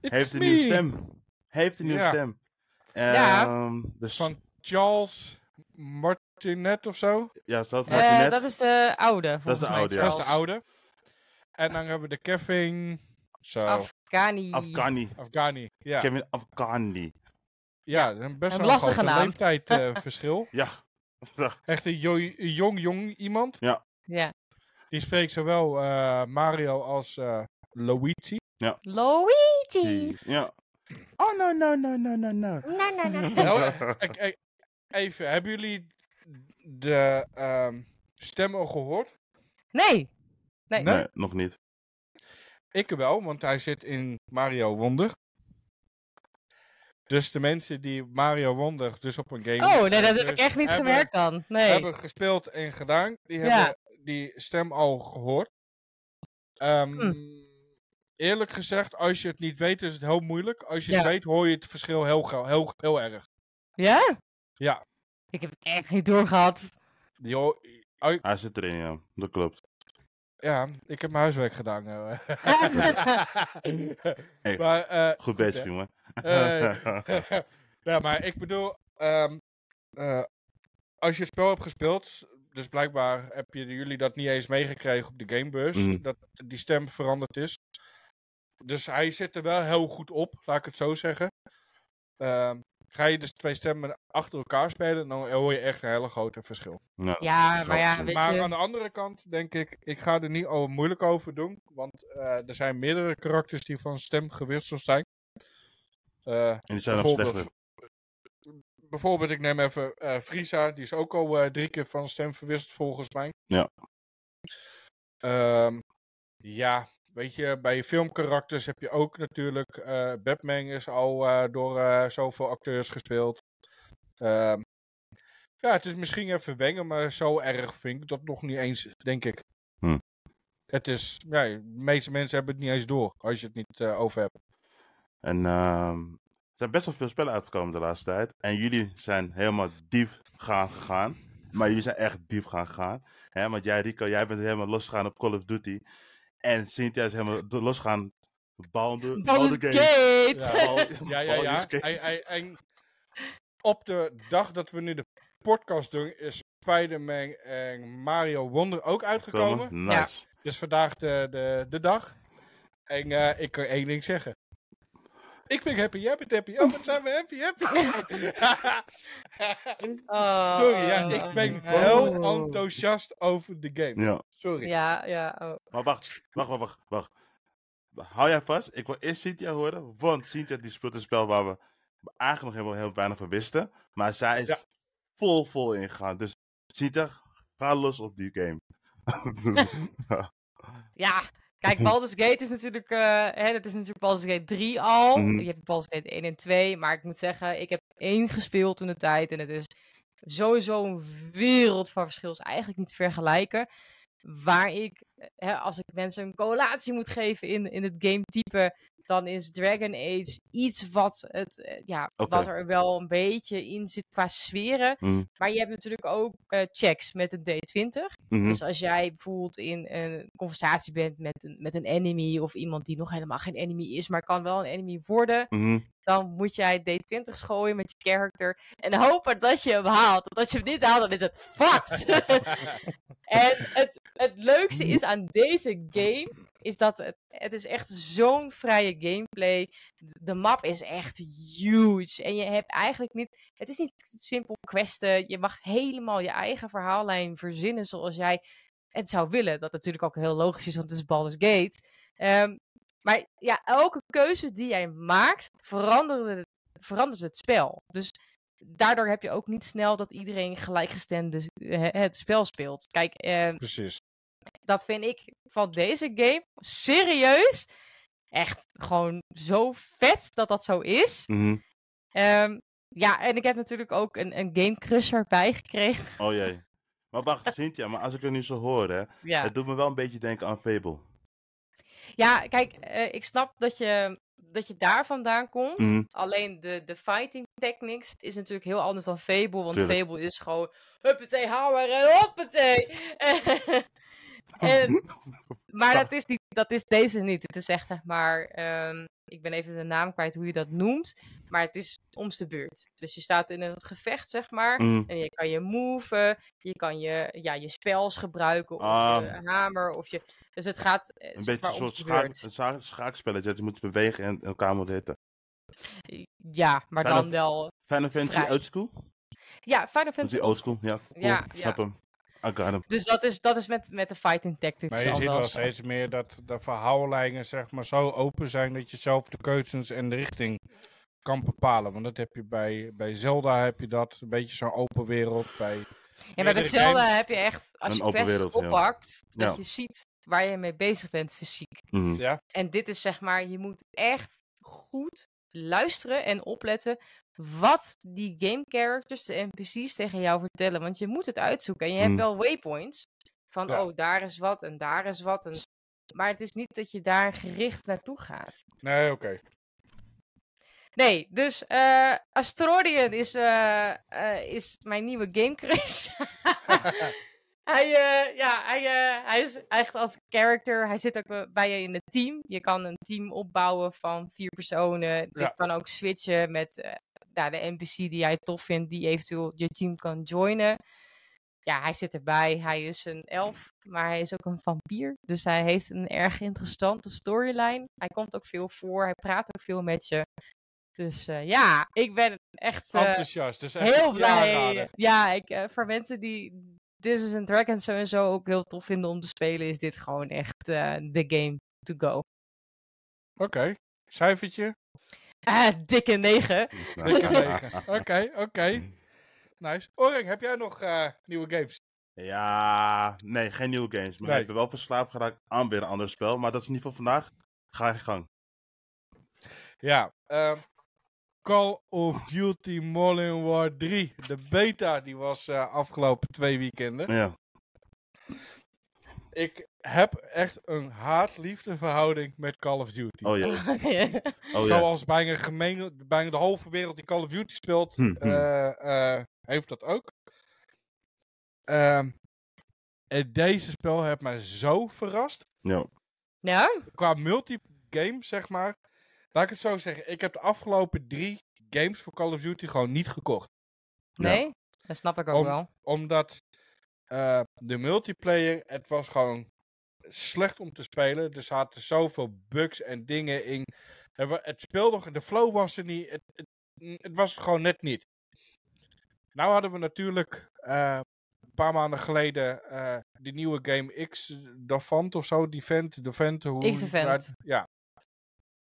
Speaker 2: heeft een nieuwe
Speaker 1: me.
Speaker 2: stem. Heeft een nieuwe
Speaker 1: Ja.
Speaker 2: stem.
Speaker 3: Ja.
Speaker 2: Ehm, Dus,
Speaker 1: Van Charles Martinet of zo.
Speaker 2: ja, zoals
Speaker 3: Eh,
Speaker 2: Martinet.
Speaker 3: dat is de oude, volgens
Speaker 2: de
Speaker 3: mij,
Speaker 2: oude, ja.
Speaker 1: Dat is
Speaker 3: Charles.
Speaker 1: de oude. En dan hebben we de Kevin. Zo.
Speaker 3: Afghani.
Speaker 2: Afghani.
Speaker 1: Afghani. Ja,
Speaker 2: Kevin Afghani.
Speaker 1: ja een best
Speaker 3: Een
Speaker 1: wel een
Speaker 3: lastige
Speaker 1: grote
Speaker 3: naam.
Speaker 1: leeftijdsverschil.
Speaker 2: Ja.
Speaker 1: Echt een jo- een jong, jong iemand.
Speaker 3: Ja.
Speaker 1: Die spreekt zowel eh, Mario als eh, Luigi.
Speaker 3: Luigi.
Speaker 2: ja. Oh, no, no, no, no, no, no.
Speaker 3: Na, na, na.
Speaker 1: Nou, ik- ik- even, hebben jullie de ehm, stem al gehoord?
Speaker 3: Nee. Nee.
Speaker 2: Nee, nog niet.
Speaker 1: Ik wel, want hij zit in Mario Wonder. Dus de mensen die Mario Wonder dus op een game...
Speaker 3: Oh, nee, dat heb
Speaker 1: dus
Speaker 3: ik echt niet
Speaker 1: hebben-
Speaker 3: gemerkt dan. Nee.
Speaker 1: hebben gespeeld en gedaan, die
Speaker 3: Ja.
Speaker 1: hebben die stem al gehoord. Ehm,
Speaker 3: Hm.
Speaker 1: Eerlijk gezegd, als je het niet weet, is het heel moeilijk. Als je het
Speaker 3: Ja.
Speaker 1: weet, hoor je het verschil heel, gauw- heel, heel erg.
Speaker 3: Ja?
Speaker 1: Ja.
Speaker 3: Ik heb het echt niet doorgehad.
Speaker 1: Die hoor- ui-
Speaker 2: Hij zit erin, ja. Dat klopt.
Speaker 1: ja, ik heb mijn huiswerk gedaan. eh.
Speaker 2: Hey,
Speaker 1: maar, eh,
Speaker 2: Goed bezig,
Speaker 1: hè?
Speaker 2: jongen.
Speaker 1: Eh, ja, maar ik bedoel, ehm, eh, als je het spel hebt gespeeld, dus blijkbaar heb je, jullie dat niet eens meegekregen op de gamebeurs,
Speaker 2: Mm.
Speaker 1: dat die stem veranderd is. Dus hij zit er wel heel goed op, laat ik het zo zeggen. Ehm, ga je dus twee stemmen achter elkaar spelen, dan hoor je echt een hele grote verschil.
Speaker 2: Nou,
Speaker 3: Ja, maar ja,
Speaker 2: Klopt.
Speaker 3: weet
Speaker 1: Maar eh,
Speaker 3: je.
Speaker 1: aan de andere kant denk ik, ik ga er niet over moeilijk over doen. Want eh, er zijn meerdere karakters die van stem gewisseld zijn. Eh,
Speaker 2: en die zijn nog
Speaker 1: bijvoorbeeld,
Speaker 2: slechter.
Speaker 1: bijvoorbeeld, ik neem even eh Frieza, die is ook al eh, drie keer van stem verwisseld volgens mij.
Speaker 2: Ja.
Speaker 1: Ehm, ja, weet je, bij je filmkarakters heb je ook natuurlijk. eh, Batman is al eh, door eh, zoveel acteurs gespeeld. Ehm, ja, het is misschien even wengen, maar zo erg vind ik dat nog niet eens, denk ik.
Speaker 2: Hm.
Speaker 1: Het is, ja, de meeste mensen hebben het niet eens door als je het niet eh, over hebt.
Speaker 2: En ehm, er zijn best wel veel spellen uitgekomen de laatste tijd. En jullie zijn helemaal diep gaan gegaan. Maar jullie zijn echt diep gaan gegaan. Hè? Want jij, Rico, jij bent helemaal losgegaan op Call of Duty. En Cynthia is helemaal do- losgegaan. Bounder,
Speaker 3: Baldur's Gate.
Speaker 1: Ja.
Speaker 2: Bal-
Speaker 1: Ja, ja, ja.
Speaker 2: Baldur's Gate.
Speaker 1: Ei, ei, en op de dag dat we nu de podcast doen, is Spider-Man en Mario Wonder ook uitgekomen.
Speaker 2: Komen? Nice.
Speaker 1: Dus vandaag de, de, de dag. En eh, ik kan één ding zeggen. Ik ben happy, jij bent happy. Oh, wat zijn we happy, happy.
Speaker 3: Oh,
Speaker 1: Sorry, ja, ik ben
Speaker 3: oh.
Speaker 1: heel enthousiast over de game.
Speaker 2: Ja.
Speaker 1: Sorry.
Speaker 3: Ja, ja. oh.
Speaker 2: Maar wacht, wacht, wacht, wacht. wacht. Hou jij vast, ik wil eerst Cynthia horen, want Cynthia die speelt een spel waar we eigenlijk nog helemaal heel weinig van wisten. Maar zij is
Speaker 1: Ja.
Speaker 2: vol, vol ingegaan. Dus Cynthia, ga los op die game.
Speaker 3: Ja, kijk, Baldur's Gate is natuurlijk... eh hè, dat is natuurlijk Baldur's Gate 3 al.
Speaker 2: Mhm.
Speaker 3: Je hebt Baldur's Gate 1 en 2. Maar ik moet zeggen, ik heb 1 gespeeld toen de tijd. En het is sowieso een wereld van verschil. Is eigenlijk niet te vergelijken. Waar ik, eh, hè, als ik mensen een correlatie moet geven in, in het gametype... Dan is Dragon Age iets wat, het, eh, ja,
Speaker 2: Oké.
Speaker 3: wat er wel een beetje in zit qua sferen.
Speaker 2: Mhm.
Speaker 3: Maar je hebt natuurlijk ook eh, checks met een D20.
Speaker 2: Mhm.
Speaker 3: Dus als jij bijvoorbeeld in een conversatie bent met een, met een enemy of iemand die nog helemaal geen enemy is, maar kan wel een enemy worden,
Speaker 2: Mhm.
Speaker 3: dan moet jij D20 gooien met je character en hopen dat je hem haalt. Want als je hem niet haalt, dan is het fucked. en het, het leukste is aan deze game, is dat het, het is echt zo'n vrije gameplay. De map is echt huge. En je hebt eigenlijk niet, het is niet simpel questen. Je mag helemaal je eigen verhaallijn verzinnen zoals jij het zou willen. Dat natuurlijk ook heel logisch is, want het is Baldur's Gate. Ehm, maar ja, elke keuze die jij maakt, verandert, verandert het spel. Dus daardoor heb je ook niet snel dat iedereen gelijkgestemd dus, eh, het spel speelt. Kijk, ehm,
Speaker 1: Precies.
Speaker 3: dat vind ik van deze game serieus echt gewoon zo vet dat dat zo is.
Speaker 2: Mhm.
Speaker 3: Ehm, ja, en ik heb natuurlijk ook een, een gamecrusher erbij gekregen.
Speaker 2: Oh jee. Maar wacht, Cynthia, maar als ik er nu zo hoor, hè,
Speaker 3: Ja.
Speaker 2: het doet me wel een beetje denken aan Fable.
Speaker 3: Ja, kijk, eh, ik snap dat je, dat je daar vandaan komt.
Speaker 2: Mhm.
Speaker 3: Alleen de, de fighting techniques is natuurlijk heel anders dan Fable. Want
Speaker 2: Tuurlijk.
Speaker 3: Fable is gewoon huppatee, hamer en hoppatee.
Speaker 2: mhm,
Speaker 3: en, maar dat is, niet, dat is deze niet. Het is echt, zeg maar, ehm, ik ben even de naam kwijt hoe je dat noemt. Maar het is om de beurt. Dus je staat in een gevecht, zeg maar.
Speaker 2: Mhm.
Speaker 3: En je kan je moven, je kan je, ja, je spels gebruiken, of
Speaker 2: Ah.
Speaker 3: je hamer, of je... Dus het gaat eh,
Speaker 2: Een
Speaker 3: zeg
Speaker 2: beetje
Speaker 3: maar
Speaker 2: een
Speaker 3: om
Speaker 2: soort
Speaker 3: de
Speaker 2: schaak,
Speaker 3: beurt.
Speaker 2: een scha- schaakspelletje dat je moet bewegen en elkaar moet hitten.
Speaker 3: Ja, maar
Speaker 2: Final
Speaker 3: dan
Speaker 2: F-
Speaker 3: wel...
Speaker 2: Final Fantasy
Speaker 3: Vrij.
Speaker 2: Oldschool?
Speaker 3: Ja, Final
Speaker 2: Dat is die
Speaker 3: Fantasy.
Speaker 2: Oldschool, ja. Cool.
Speaker 3: Ja,
Speaker 2: Snap hem. I got hem.
Speaker 3: Dus dat is, dat is met, met de fighting tactics
Speaker 1: Maar je
Speaker 3: al
Speaker 1: ziet
Speaker 3: wel
Speaker 1: wel
Speaker 3: zo.
Speaker 1: steeds meer dat de verhaallijnen zeg maar, zo open zijn dat je zelf de keuzes en de richting kan bepalen. Want dat heb je bij, bij Zelda heb je dat, een beetje zo'n open wereld. Bij...
Speaker 3: Ja, maar bij
Speaker 1: meerdere
Speaker 3: Zelda
Speaker 1: games.
Speaker 3: heb je echt, als
Speaker 2: Een
Speaker 3: je
Speaker 2: open
Speaker 3: quests
Speaker 2: wereld, ja.
Speaker 3: oppakt, dat
Speaker 2: Ja.
Speaker 3: je ziet waar je mee bezig bent fysiek.
Speaker 2: Mhm.
Speaker 1: Ja,
Speaker 3: En dit is zeg maar, je moet echt goed luisteren en opletten wat die game characters, de NPC's tegen jou vertellen. Want je moet het uitzoeken. En je hebt
Speaker 2: Mm.
Speaker 3: wel waypoints van,
Speaker 1: Ja.
Speaker 3: oh, daar is wat en daar is wat. En... Maar het is niet dat je daar gericht naartoe gaat.
Speaker 1: nee, oké.
Speaker 3: Nee, dus eh Astrodian is, eh, eh, is mijn nieuwe gamecrush. hij, eh, ja, hij, eh, hij is echt als character, hij zit ook eh, bij je in het team. Je kan een team opbouwen van vier personen.
Speaker 1: Ja.
Speaker 3: Je kan ook switchen met eh, nou, de NPC die jij tof vindt, die eventueel je team kan joinen. Ja, hij zit erbij. Hij is een elf, maar hij is ook een vampier. Dus hij heeft een erg interessante storyline. Hij komt ook veel voor. Hij praat ook veel met je. Dus eh, ja, ik ben echt eh,
Speaker 1: Enthousiast. Dus echt
Speaker 3: heel
Speaker 1: een
Speaker 3: blij.
Speaker 1: aanrader.
Speaker 3: Ja, ik, eh, voor mensen die Dungeons and Dragons sowieso ook heel tof vinden om te spelen, is dit gewoon echt eh, de game to go.
Speaker 1: Oké, cijfertje.
Speaker 3: Ah, dikke 9.
Speaker 1: Dikke negen. Oké, oké. Nice. Oring, heb jij nog eh, nieuwe games?
Speaker 2: Ja, nee, geen nieuwe games. Maar
Speaker 1: Nee.
Speaker 2: ik ben wel verslaafd geraakt aan weer een ander spel. Maar dat is niet voor vandaag. Ga je gang.
Speaker 1: Ja. ehm, Call of Duty Modern War 3. De beta die was eh, afgelopen twee weekenden.
Speaker 2: Ja.
Speaker 1: Ik heb echt een haat-liefde verhouding met Call of Duty.
Speaker 2: Oh ja. Oh, ja.
Speaker 1: Zoals bijna, gemeen, bijna de halve wereld die Call of Duty speelt,
Speaker 2: Hm, hm.
Speaker 1: eh, eh, heeft dat ook. Ehm, en deze spel heeft mij zo verrast.
Speaker 2: ja.
Speaker 3: nou,
Speaker 1: Qua multi-game, zeg maar. Laat ik het zo zeggen. Ik heb de afgelopen drie games voor Call of Duty gewoon niet gekocht.
Speaker 2: Ja.
Speaker 3: nee, dat snap ik ook
Speaker 1: Om-
Speaker 3: wel.
Speaker 1: Omdat Eh, de multiplayer, het was gewoon slecht om te spelen. Er zaten zoveel bugs en dingen in. Er wa- Het speelde, de flow was er niet. Het, het, het was er gewoon net niet. Nou hadden we natuurlijk eh, een paar maanden geleden eh, die nieuwe game X, eh, Davant of zo, die vent, de vent, hoe
Speaker 3: X
Speaker 1: je het
Speaker 3: Davant.
Speaker 1: uit- Ja.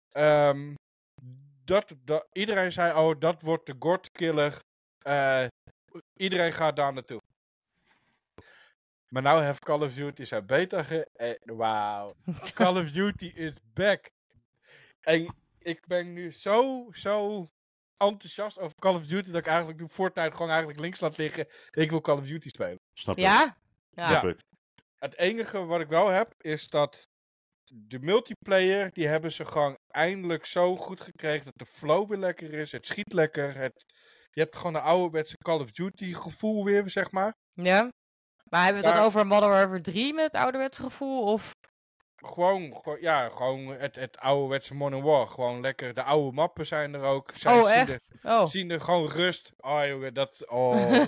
Speaker 1: Ehm, dat, dat, iedereen zei, oh, dat wordt de God Killer. Eh, iedereen gaat daar naartoe. Maar nou heeft Call of Duty zijn beta ge... eh, Wauw. Call of Duty is back. En ik ben nu zo, zo enthousiast over Call of Duty... dat ik eigenlijk nu Fortnite gewoon eigenlijk links laat liggen. Ik wil Call of Duty spelen.
Speaker 2: Snap ik.
Speaker 3: Ja? Ja.
Speaker 2: Snap ik.
Speaker 1: Het enige wat ik wel heb, is dat de multiplayer, die hebben ze gewoon eindelijk zo goed gekregen dat de flow weer lekker is. Het schiet lekker. Het, je hebt gewoon de ouderwetse Call of Duty gevoel weer, zeg maar.
Speaker 3: Ja. Maar hebben we het dan
Speaker 1: Daar-
Speaker 3: over Modern Warfare 3 met het ouderwets gevoel? Of...
Speaker 1: Gewoon, gewoon- ja, gewoon het, het ouderwetse Modern War. Gewoon lekker. De oude mappen zijn er ook. Zij
Speaker 3: oh,
Speaker 1: zien
Speaker 3: echt?
Speaker 1: Er,
Speaker 3: Oh.
Speaker 1: zien er gewoon rust. Oh, jongen, dat... Oh,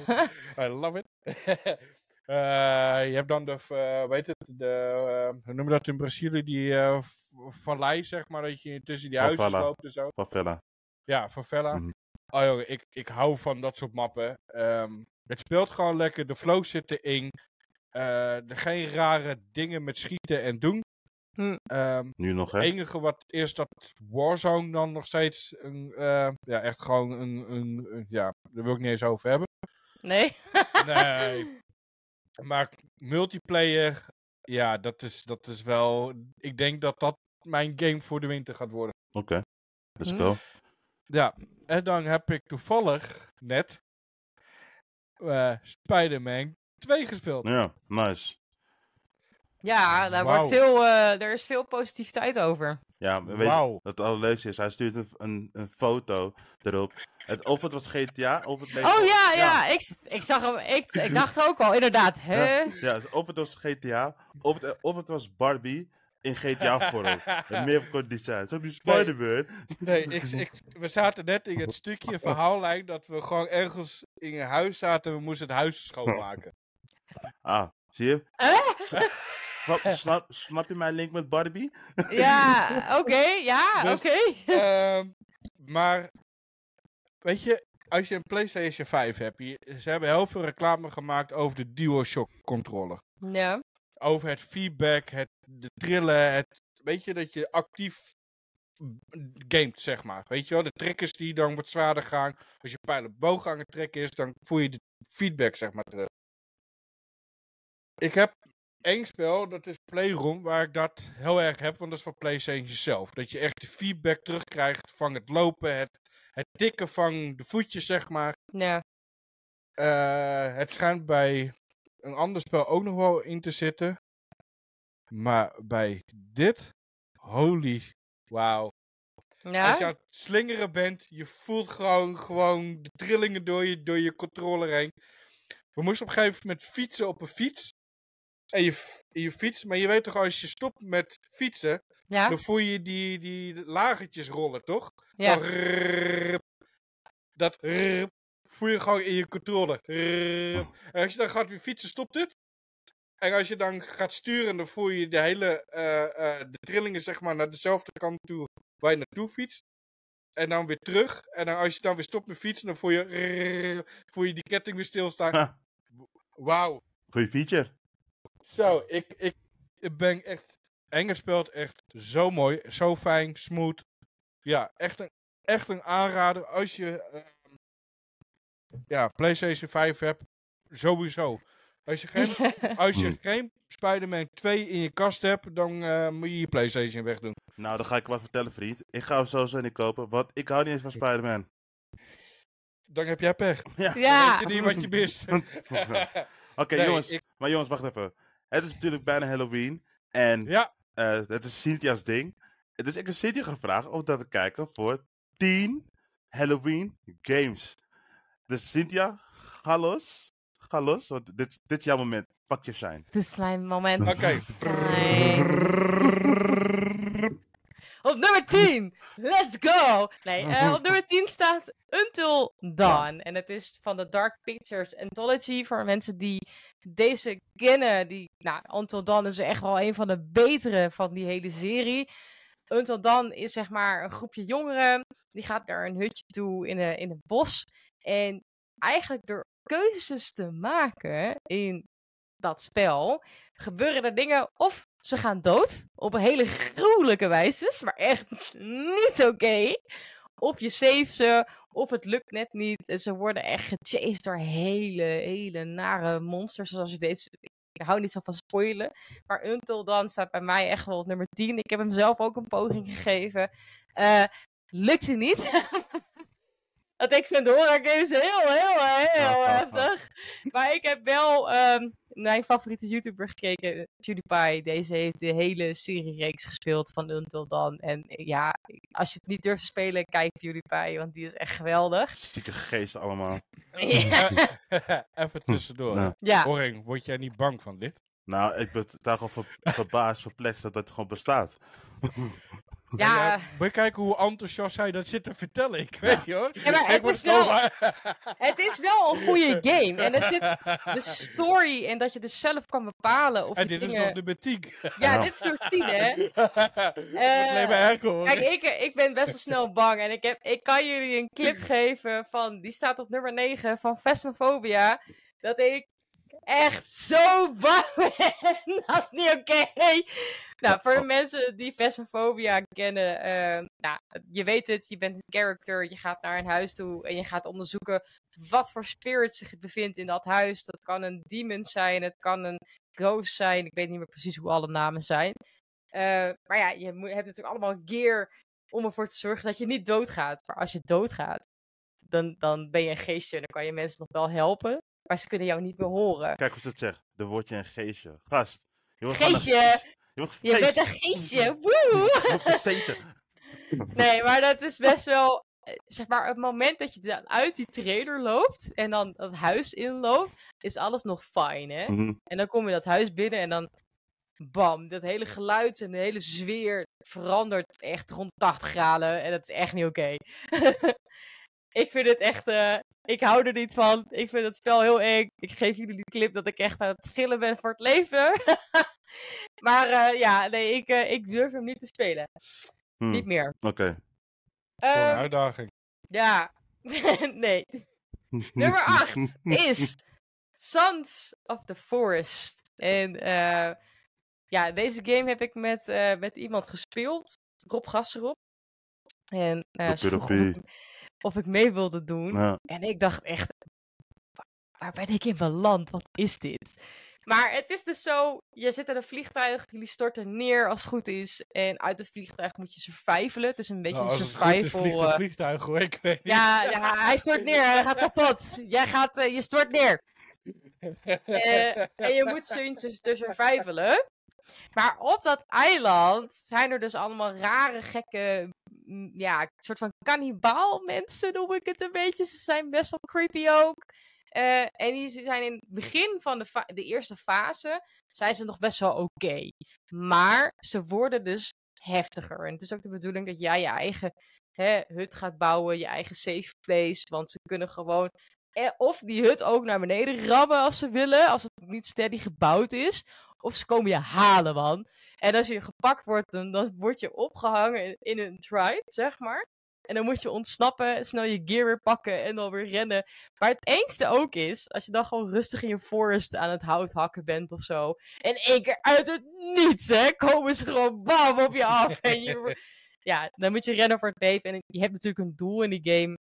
Speaker 1: I love it. Eh, je hebt dan de, eh, weet het, de, eh, hoe noem je dat in Brazilië, die eh v- vallei, zeg maar, dat je tussen die huizen
Speaker 2: Favela.
Speaker 1: loopt en zo.
Speaker 2: Favela.
Speaker 1: Ja, favela.
Speaker 2: Mhm.
Speaker 1: Oh jongen, ik, ik hou van dat soort mappen. Ehm, het speelt gewoon lekker, de flow zit erin. Eh, er geen rare dingen met schieten en doen.
Speaker 3: Hm.
Speaker 1: Ehm,
Speaker 2: Nu nog, hè?
Speaker 1: het enige wat is dat Warzone dan nog steeds een, eh, ja, echt gewoon een, een, een- ja, daar wil ik niet eens over hebben.
Speaker 3: Nee?
Speaker 1: Nee. Maar multiplayer, ja, dat is, dat is wel, ik denk dat dat mijn game voor de winter gaat worden.
Speaker 2: Oké. Let's
Speaker 3: Hm.
Speaker 2: go.
Speaker 1: Ja, en dan heb ik toevallig net eh Spider-Man 2 gespeeld.
Speaker 2: Ja, nice.
Speaker 3: Ja, daar
Speaker 1: Wauw.
Speaker 3: wordt veel, eh, er is veel positiviteit over.
Speaker 2: Ja, weet je
Speaker 1: Wauw.
Speaker 2: wat het allerleukste is? Hij stuurt een, een, een foto erop. Het, of het was GTA, of het...
Speaker 3: Oh ja, ja. Ik, ik zag hem. Ik, ik dacht ook al, inderdaad. Hè?
Speaker 2: Ja, dus of het was GTA, of het, of het was Barbie in GTA-vorm. Met meer kort design. Zo heb je Spider-Man.
Speaker 1: Nee, ik, ik, we zaten net in het stukje verhaallijn dat we gewoon ergens in een huis zaten en we moesten het huis schoonmaken.
Speaker 2: Ah, zie je?
Speaker 3: Eh?
Speaker 2: Snap, snap, snap je mijn link met Barbie?
Speaker 3: Ja, oké. ja,
Speaker 1: Dus-
Speaker 3: oké.
Speaker 1: Ehm, maar, weet je, als je een PlayStation 5 hebt, je- ze hebben heel veel reclame gemaakt over de DualShock controller.
Speaker 3: Ja.
Speaker 1: over het feedback, het, de trillen, het, weet je, dat je actief gamet, zeg maar. Weet je wel, de triggers die dan wat zwaarder gaan. Als je pijl op boog aan het trekken is, dan voel je de feedback, zeg maar, terug. Ik heb één spel, dat is Playroom, waar ik dat heel erg heb, want dat is van PlayStation zelf. Dat je echt de feedback terugkrijgt van het lopen, het, het tikken van de voetjes, zeg maar.
Speaker 3: Ja.
Speaker 1: Eh, het schijnt bij een ander spel ook nog wel in te zitten. Maar bij dit, holy wauw. Als je
Speaker 3: Ja.
Speaker 1: aan het slingeren bent, je voelt gewoon, gewoon de trillingen door je, door je controller heen. We moesten op een gegeven moment fietsen op een fiets. En je, f- je fiets, maar je weet toch als je stopt met fietsen,
Speaker 3: Ja.
Speaker 1: dan voel je die, die lagertjes rollen, toch?
Speaker 3: Ja.
Speaker 1: Van rrrrp. Dat rrrrp voel je gewoon in je controle. Rrrrp. En als je dan gaat weer fietsen, stopt het. En als je dan gaat sturen, dan voel je de hele eh, eh, de trillingen zeg maar, naar dezelfde kant toe waar je naartoe fietst. En dan weer terug. En dan als je dan weer stopt met fietsen, dan voel je, rrrrp, voel je die ketting weer stilstaan.
Speaker 2: Ha,
Speaker 1: Wauw.
Speaker 2: goeie feature.
Speaker 1: Zo, ik, ik ben echt... Enger speelt echt zo mooi, zo fijn, smooth. Ja, echt een, echt een aanrader als je eh, ja, PlayStation 5 hebt. Sowieso. Als je geen, als je
Speaker 2: Hmm.
Speaker 1: geen Spider-Man 2 in je kast hebt, dan eh, moet je je PlayStation wegdoen.
Speaker 2: Nou, dan ga ik wat vertellen, vriend. Ik ga hem sowieso niet kopen, want ik hou niet eens van Spider-Man.
Speaker 1: Dan heb jij pech.
Speaker 3: Ja.
Speaker 1: Weet je niet wat je mist.
Speaker 2: Oké,
Speaker 1: Nee,
Speaker 2: jongens.
Speaker 1: ik-
Speaker 2: Maar jongens, wacht even. Het is natuurlijk bijna Halloween. En
Speaker 1: ja,
Speaker 2: eh, het is Cynthia's ding. Dus ik heb Cynthia gevraagd om dat te kijken voor 10 Halloween games. Dus Cynthia, ga los. Ga los, want dit, dit is jouw moment. Pak je shine.
Speaker 3: Dit is mijn moment.
Speaker 1: oké.
Speaker 3: Shine. Op nummer 10, let's go! Nee, eh, op nummer 10 staat Until Dawn. En het is van de Dark Pictures Anthology. Voor mensen die deze kennen. Die, nou, Until Dawn is echt wel een van de betere van die hele serie. Until Dawn is zeg maar een groepje jongeren. Die gaat naar een hutje toe in, een, in het bos. En eigenlijk door keuzes te maken in dat spel, gebeuren er dingen of ze gaan dood op een hele gruwelijke wijze, maar echt niet oké. Of je save ze, of het lukt net niet. En ze worden echt gechased door hele, hele nare monsters. Zoals ik deze. Ik hou niet zo van spoilen. Maar Until Dawn staat bij mij echt wel op nummer 10. Ik heb hem zelf ook een poging gegeven. Eh lukte niet. Want ik vind horror games heel, heel, heel heftig. Maar ik heb wel ehm, mijn favoriete YouTuber gekeken, PewDiePie. Deze heeft de hele seriereeks gespeeld van Until Dawn. En eh, ja, als je het niet durft te spelen, kijk PewDiePie, want die is echt geweldig.
Speaker 2: Zieke geest allemaal.
Speaker 3: Ja.
Speaker 1: Eh, Even tussendoor.
Speaker 2: Nou.
Speaker 3: ja.
Speaker 1: Orring, word jij niet bang van dit?
Speaker 2: Nou, ik ben daar gewoon ver- verbaasd, verplext dat dat gewoon bestaat.
Speaker 3: ja. eh,
Speaker 1: Moet je kijken hoe enthousiast hij dat zit te vertellen? Ik weet niet hoor.
Speaker 3: Ja, maar
Speaker 1: ik
Speaker 3: het
Speaker 1: word
Speaker 3: is wel-
Speaker 1: gewoon-
Speaker 3: Het is wel een goede game. En er zit de story en dat je dus zelf kan bepalen of
Speaker 1: En
Speaker 3: je
Speaker 1: dit is
Speaker 3: dingen...
Speaker 1: nog nummer 10.
Speaker 3: Ja, dit is door tien, hè?
Speaker 1: Wordt alleen maar erger, hoor.
Speaker 3: Kijk, ik, eh, ik ben best wel snel bang. En ik, heb, ik kan jullie een clip geven van... Die staat op nummer 9 van Vesmofobia. Dat ik echt zo bang ben. Dat is niet oké. Nou, voor de mensen die Vesmofobia kennen... eh, nou, je weet het, je bent een character. Je gaat naar een huis toe en je gaat onderzoeken... wat voor spirit zich bevindt in dat huis. Dat kan een demon zijn, het kan een ghost zijn. Ik weet niet meer precies hoe alle namen zijn. Eh, maar ja, je moet, hebt natuurlijk allemaal gear om ervoor te zorgen dat je niet doodgaat. Maar als je doodgaat, dan, dan ben je een geestje en dan kan je mensen nog wel helpen. Maar ze kunnen jou niet meer horen.
Speaker 2: Kijk hoe ze het zegt. Dan word je een geestje. Gast. Je wordt gewoon een
Speaker 3: Geestje!
Speaker 2: geest. Je wordt
Speaker 3: Je bent een
Speaker 2: geest.
Speaker 3: geestje! Woe!
Speaker 2: Je wordt bezeten.
Speaker 3: Nee, maar dat is best wel. eh, Zeg maar, het moment dat je dan uit die trailer loopt en dan dat huis inloopt, is alles nog fijn, hè?
Speaker 2: Mhm.
Speaker 3: En dan kom je dat huis binnen en dan. Bam, dat hele geluid en de hele sfeer verandert echt rond 80 graden. En dat is echt niet oké. ik vind het echt. eh, ik hou er niet van. Ik vind het spel heel eng. Ik geef jullie die clip dat ik echt aan het gillen ben voor het leven. maar eh, ja, nee, ik, eh, ik durf hem niet te spelen.
Speaker 2: Hmm,
Speaker 3: Niet meer.
Speaker 2: Oké.
Speaker 1: Voor een
Speaker 3: Ehm,
Speaker 1: uitdaging.
Speaker 3: ja. nee. Nummer 8 is Sons of the Forest. En eh, ja, deze game heb ik met, eh, met iemand gespeeld. Rob Gasserop. En eh ze vroeg of
Speaker 2: Therapie.
Speaker 3: ik, of ik mee wilde doen.
Speaker 2: Ja.
Speaker 3: En ik dacht echt, "Wa- waar ben ik in mijn land? Wat is dit? Maar het is dus zo, je zit in een vliegtuig, jullie storten neer als het goed is. En uit het vliegtuig moet je survivalen. Het is een beetje
Speaker 1: Nou,
Speaker 3: een
Speaker 1: als het goed is,
Speaker 3: survival...
Speaker 1: vliegt
Speaker 3: eh,
Speaker 1: een vliegtuig hoor, ik weet niet.
Speaker 3: ja, ja, hij stort neer. Hij gaat kapot. Jij gaat, eh, je stort neer. Eh, en je moet zien te, te survivalen. Maar op dat eiland zijn er dus allemaal rare, gekke, mm, ja, soort van kannibaal mensen noem ik het een beetje. Ze zijn best wel creepy ook. Eh, en die zijn in het begin van de, fa- de eerste fase, zijn ze nog best wel oké. Maar ze worden dus heftiger. En het is ook de bedoeling dat jij je eigen hè, hut gaat bouwen, je eigen safe place. Want ze kunnen gewoon eh, of die hut ook naar beneden rammen als ze willen, als het niet steady gebouwd is. Of ze komen je halen, man. En als je gepakt wordt, dan, dan word je opgehangen in, in een tribe, zeg maar. En dan moet je ontsnappen, snel je gear weer pakken en dan weer rennen. Maar het engste ook is, als je dan gewoon rustig in je forest aan het hout hakken bent of zo. En één keer uit het niets, hè, komen ze gewoon bam op je af. En je, wo- ja, dan moet je rennen voor het leven. En je hebt natuurlijk een doel in die game.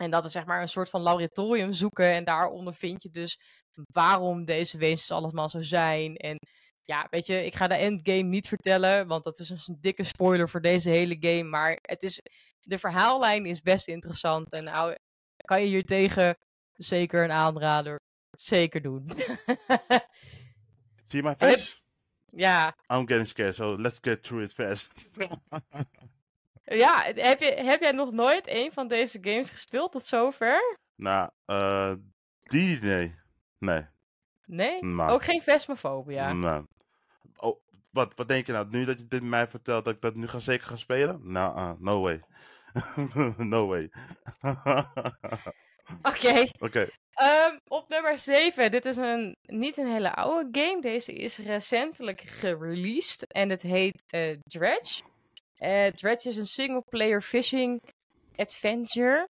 Speaker 3: En dat is zeg maar een soort van laboratorium zoeken. En daaronder vind je dus waarom deze wezens allemaal zo zijn. En ja, weet je, ik ga de endgame niet vertellen. Want dat is een dikke spoiler voor deze hele game. Maar het is, de verhaallijn is best interessant. En nou, kan je hier tegen zeker een aanrader. Zeker doen.
Speaker 2: See my face?
Speaker 3: ja.
Speaker 2: I'm getting scared, so let's get through it fast.
Speaker 3: Ja, heb, je, heb jij nog nooit een van deze games gespeeld tot zover?
Speaker 2: nou, eh die nee. Nee.
Speaker 3: Nee?
Speaker 2: Nou. Mm.
Speaker 3: Ook geen Vesmofobia.
Speaker 2: Nou. Oh, Wat, wat denk je nou? Nu dat je dit mij vertelt, dat ik dat nu ga zeker gaan spelen? Nou, ah, no way. no way.
Speaker 3: Oké.
Speaker 2: Oké,
Speaker 3: Ehm, op nummer 7. Dit is een, niet een hele oude game. Deze is recentelijk gereleased. En het heet eh, Dredge. Eh, Dredge is een single-player fishing adventure.